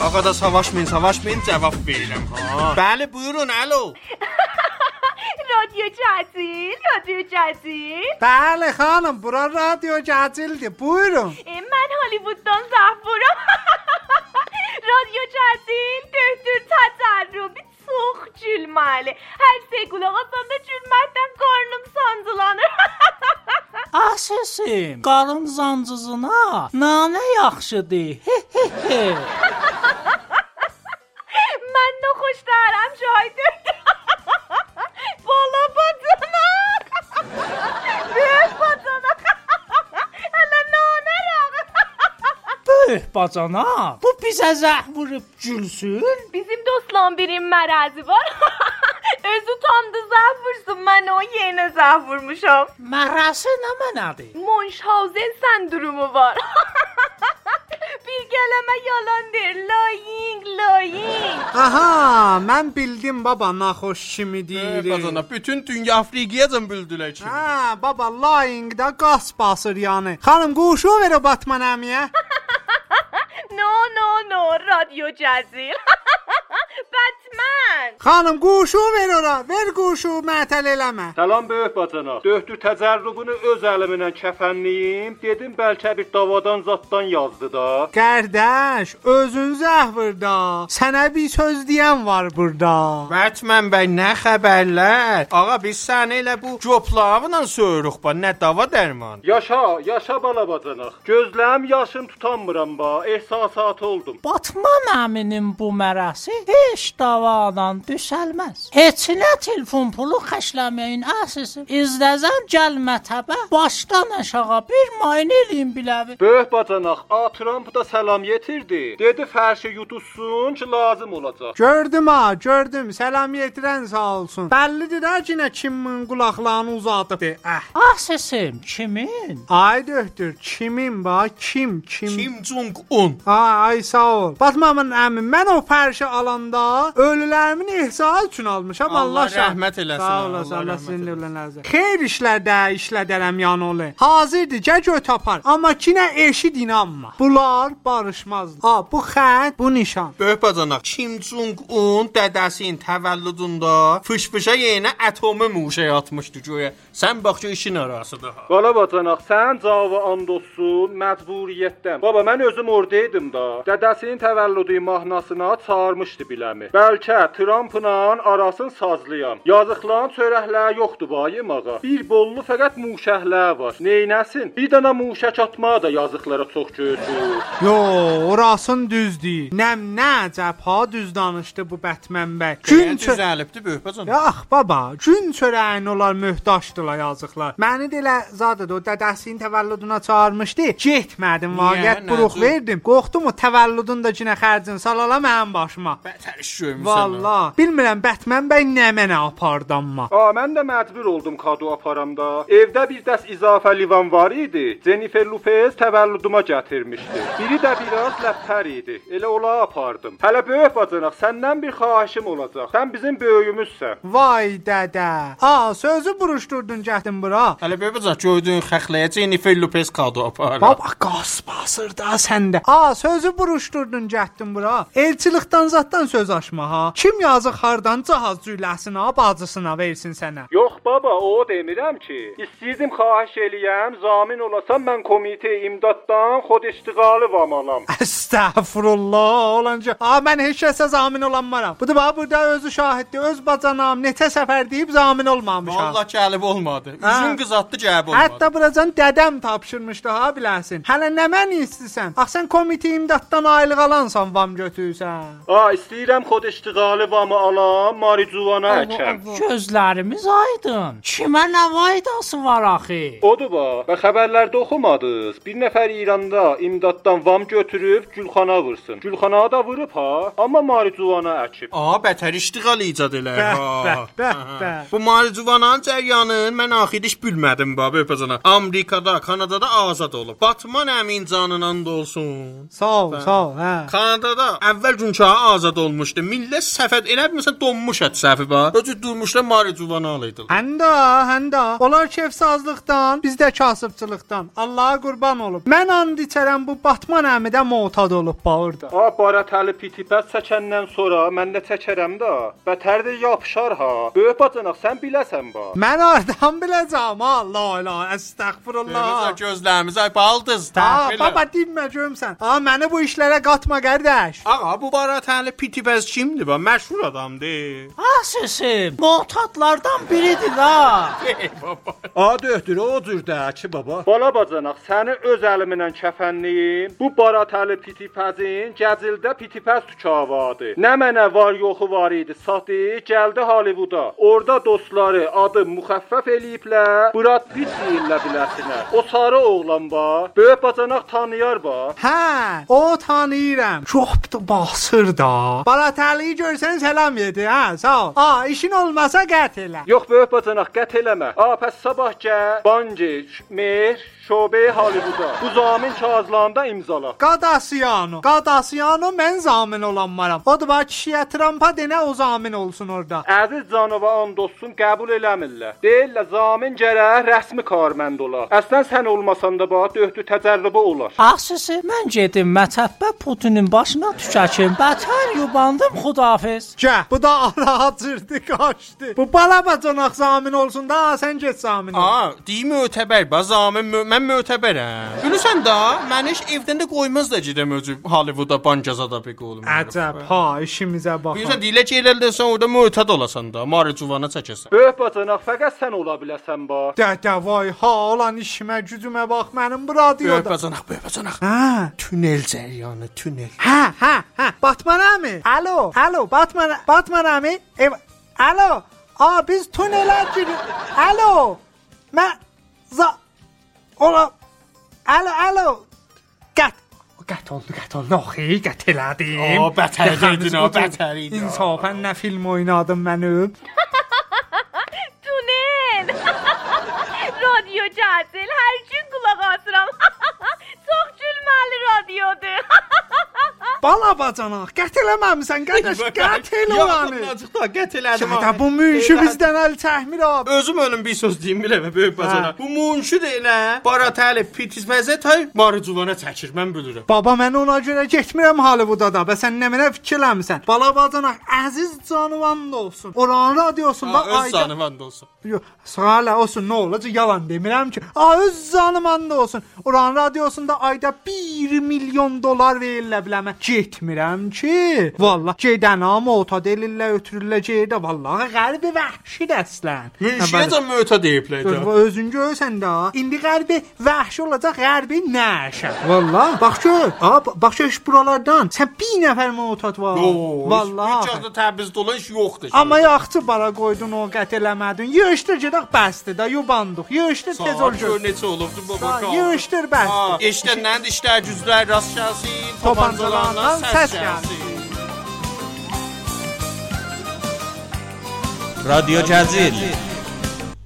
S9: Ağa da savaşmayın, savaşmayın, cavab verirəm ha. Bəli, buyurun, alo.
S4: رادیو جزیل رادیو جزیل
S3: Bəli
S13: Ee,
S3: xanım, bura radio gəcildir. Buyurun.
S4: اه، من هالیووددان زهبورم
S13: bəli. Hər şey qulaq asanda cürmətdən qarnım sancılanır.
S10: Ah səsim, qarın zancızına nanə yaxşıdır. He-he-he.
S13: Mən nə xoş dərəm şahidi. Bala bacana. Böyük bacana. Hələ nanərəm.
S10: Böyük bacana, bu bizə zəh vurub gülsün.
S13: Bizim dostla birin mərəzi var. Öz utandı zəhv vursun, mən o yenə zəhv vurmuşam.
S10: Mərəzi nə mənadır?
S13: Munchausen sendromu var. Bir gələmə yalan deyir, lying, lying.
S3: Aha, mən bildim baba naxoş
S9: Hə,
S3: kimi deyir.
S1: Bazana bütün dünya Afrika'ya zımbıldırlar şimdi.
S3: Hə, baba lying da qas basır yəni. Xanım quşu ver o batmanəmiyə.
S13: No, no, no, radyo cəzil. Batman.
S3: Xanım quşu ver ora, ver quşu məətəl eləmə.
S8: Salam böyük bacana. Döhdü təcərrübünü öz əlimlə kəfənliyim. Dedim bəlkə bir davadan zaddan yazdı da.
S3: Qardaş, özün zəhvirdə. Sənə bir söz deyən var burada.
S9: Batman bəy nə xəbərlər? Ağa biz səni elə bu coplavla soyuruq ba, nə dava dərman.
S8: Yaşa, yaşa bala bacanaq. Gözləm yaşım tutanmıram ba. Ehsasat oldum.
S10: Batman əminin bu mərəsi heç davadan düşəlməz. Heçinə telefon pulu xərcləməyin əsəsim. İzdəzən gəl mətəbə, başdan aşağı bir mayın eləyin biləvi.
S8: Böyük bacanaq, A Trump da salam yetirdi. Dedi fərşi yutuşsun ki, lazım olacaq.
S3: Gördüm ha, gördüm. Səlam yetirən sağ olsun. Bəllidir ha ki, nə kimin qulaqlarını uzadıbdı. Əh.
S10: Əsəsim, kimin?
S3: Ay döhdür, kimin ba? Kim, kim?
S1: Kim Jong-un.
S3: Ha, ay sağ ol. Batmamın əmi, mən o pərşi alanda ölülərimin ehsası üçün almışam. Allah,
S1: Allah
S3: şah-
S1: rəhmət eləsin.
S3: Sağ olasın,
S1: Allah
S3: Allah
S1: rəhmət
S3: sənin ölənlərinizə. Xeyr işlərdə işlədərəm yanılı. Hazırdır, gəl göt apar. Amma kinə eşid inanma. Bunlar barışmazlar. Ha, bu xətt, bu nişan.
S9: Böyük bacanaq, Kim Jong-un dədəsinin təvəllüdündə fışfışa yenə atomu muşəyə atmışdı göyə. Sən bax ki, işin arasıdır ha.
S8: Bala bacanaq, sən cavaba and olsun məcburiyyətdən. Baba, mən özüm ordaydım da. Dədəsinin təvəllüdü mahnasına çağırmışdı biləmi. Bəlkə Trumpla arasın sazlıyam. Yazıqların çörəkləri yoxdur bayım ağa. Bir bollu fəqət muşəhlər var. Neynəsin? Bir dənə muşək atmağa da yazıqlara çox köçür.
S3: Yo, orasın düzdür. Nəm nə cəbha düz danışdı bu Bətmən bəy. Gün çö-
S1: Düzəlibdi böyük bacan.
S3: Yax baba, gün çörəyin onlar möhtacdılar yazıqlar. Məni də elə zadıdı, o dədəsinin təvəllüdünə çağırmışdı. Getmədim,
S1: Niyə,
S3: vaqiət buruq
S1: nəcib?
S3: verdim. Qorxdum o təvəllüdün də günə xərcin salala mənim başıma.
S1: Bətər iş görmüsən.
S3: Valla, bilmirəm Bətmən bəy nə mənə apardı amma.
S8: A, mən də məcbur oldum kado aparamda. Evdə bir dəs izafə livan var idi. Jennifer Lopez təvəllüdümə gətirmişdi. Biri də biraz ləpər idi. Elə ola apardım. Hələ böyük bacanaq, səndən bir xahişim olacaq. Sən bizim böyüyümüzsən.
S3: Vay dədə. A, sözü buruşdurdun gəldin bura.
S9: Hələ böyük bacanaq, gördün xəxləyə Jennifer Lopez kado aparır.
S3: Baba qas basır da səndə. A, sözü buruşdurdun gətdin bura. Elçilikdən zaddan söz açma ha. Kim yazıq hardan cahaz cüləsinə, bacısına versin sənə.
S8: Yox baba, o demirəm ki. İstəyirdim xahiş eləyəm, zamin olasam mən komitə imdaddan xod istiqalı vamanam.
S3: Əstəğfurullah olanca. A, mən heç kəsə zamin olanmaram. Bu da bax burada özü şahiddir. Öz bacanam neçə səfər deyib zamin olmamışam.
S9: Allah gəlib olmadı.
S3: Hə.
S9: Üzün qızatdı gəlib olmadı.
S3: Hətta buracan dədəm tapşırmışdı ha biləsən. Hələ nə mən istəsən? Ax sən komitə imdaddan aylıq alansan vam götürsən.
S8: A, istəyirəm xod istiqalı vamı alam, marijuana əkəm.
S10: Gözlərimiz aydın. Kimə nə faydası var axı?
S8: Odur ba, və xəbərlərdə oxumadınız. Bir nəfər İranda imdaddan vam götürüb Gülxana vursun. Gülxana da vurub ha, amma marijuana əkib.
S9: A, bətər iştiqal icad eləyir.
S3: Bəh,
S9: ha.
S3: bəh, bəh,
S9: Hə, hə.
S3: bəh.
S9: Bu marijuananın cəryanını mən axiriş bilmədim baba öpəcənə. Amerikada, Kanadada azad olub. Batman əmin canından da olsun.
S3: Sağ ol, sağ ol. Hə.
S9: Kanadada əvvəl günkahı azad olmuşdu. Millət səfət eləmirsən donmuş ət səfi var. Özü durmuşlar marijuana alıydılar.
S3: Həndə, həndə. Onlar kefsazlıqdan, biz də kasıbçılıqdan. Allaha qurban olub. Mən and içərəm bu Batman əmi də motad olub ba orada.
S8: A, baratəli pitipəs çəkəndən sonra mən də çəkərəm də. Bətər də yapışar ha. Böyük bacanaq, sən biləsən ba.
S3: Mən hardan biləcəm ha? La ilahe
S9: Gözlə-
S3: əstəğfurullah.
S9: Gözlərimizə baldız
S3: Ha,
S9: təfil.
S3: baba dinmə görmsən. Ha, məni bu işlərə qatma qardaş.
S9: Ağa bu baratəli pitipəz kimdir? Bə? Məşhur adamdır.
S10: Ha sesim, muhtadlardan biridir ha.
S14: A döhdür o cür də ki baba.
S8: Bala bacanaq, səni öz əlimlə kəfənləyim. Bu baratəli pitipəzin gəzildə pitipəz tükavadı. Nə mənə var yoxu var idi, satdı, gəldi Hollywood-a. Orda dostları adı müxəffəf eləyiblər. Brad Pitt deyirlər biləsinə. O sarı oğlan var. Böyük bacanaq tanıyar var.
S3: Hə, o tanıyıram. Çoxdu basır da. Balatəliyi görsən selam yedi, hə, sağ ol. A, işin olmasa qət elə.
S8: Yox böyük bacanaq qət eləmə. A pəs sabah gəl, Bangic, Mer, şöbəyə Hollywood-a. Bu zamin kağızlarında imzala.
S3: Qadasiyano. Qadasiyano mən zamin olanmaram. O da bax kişiyə Trumpa denə o zamin olsun orada.
S8: Əziz canova an dostum qəbul eləmirlər. Deyirlər zamin gərək rəsmi karmənd ola. Əslən sən olmasan da bax döhdü təcrübə olar.
S10: Ah sesim, mən gedim mətəbbə Putinin başına tükəkim. Bətər yubandım, xudafiz.
S3: Gə, bu da aracırdı, qaçdı. Bu bala bacanaq zamin olsun da, sən get zamin ol.
S9: A, deyim mötəbər, bazamin mö mən mötəbərəm. Bilirsən də, mən heç evdən də qoymaz da gedəm özü Hollywood-a bancaza da bir qolum.
S3: Əcəb, ha, işimizə bax.
S9: Bilirsən, deyirlər ki, elədirsən orada mötəd olasan da, marijuana çəkəsən.
S8: Böyük bacanaq fəqət sən ola biləsən bax.
S3: Dədə vay, ha, olan işimə, gücümə bax mənim bu
S9: Böyük
S3: radioda.
S9: bacanaq, böyük bacanaq.
S3: Hə,
S9: Tünel cəryanı, tünel.
S3: hə, hə, hə. Batman əmi? Alo, alo, Batman, Batman əmi? Ev, alo. A, biz tunelə giririk. Alo. Mən za ola Alo, alo. Qət. Qət oldu, qət oldu. Oxi, qət elədim.
S9: O, bətər edin, o, bətər edin.
S3: İnsafən nə film oynadım mənim.
S4: Tunel. radyo cəzil. Hər gün qulaq asıram. Çox gülməli radiodur.
S3: Bala bacanaq, qət eləməmisən, qardaş, qət elə olanı.
S9: Acıqda qət elədim.
S3: Şəhədə
S9: ha.
S3: bu münşü bizdən əl təhmir ab.
S9: Özüm önüm bir söz deyim biləmə böyük bacanaq. Bu munşu da elə baratəli pitizməzə tay marijuana çəkir, mən bilirəm.
S3: Baba mən ona görə getmirəm Hollywood-a da. Bəs sən nə mənə fikirləmisən? Bala bacanaq, əziz canıvan da olsun. Oranın radiosun
S9: Ha,
S3: bax
S9: öz canıvan da olsun.
S3: Yox, sağla olsun, nə olacaq? Yalan demirəm ki. A öz canıvan da olsun. Oranın radiosunda ayda 1 milyon dollar verirlə biləmə. Getmirəm ki. Vallah gedənə mota delillə ötürülə gedə. Vallahi qəlbi vəhşi dəslən.
S9: Münşiyə də mötə deyiblər
S3: Dur,
S9: də.
S3: bu özün görsən də. İndi qərbi vəhşi olacaq, qərbi nəşə. Vallah. Bax gör, ab, bax gör iş buralardan. Sən bir nəfər motat var.
S9: Vallahi. Heç
S3: Vallah.
S9: yerdə təbiz dolaş yoxdur.
S3: Amma yaxçı bara qoydun o qət eləmədin. Yığışdır gedək bəsdir də yubandıq. Yığışdır tez ol
S9: Saat gör
S3: gör.
S9: necə olubdu baba
S3: Saat,
S9: kal.
S3: Yığışdır bəsdir.
S9: İşlənən işlər güclər rast gəlsin, tapancalarından
S3: Tapancalarından
S9: səs
S3: səs gəlsin.
S9: gəlsin.
S15: Radyo Cazil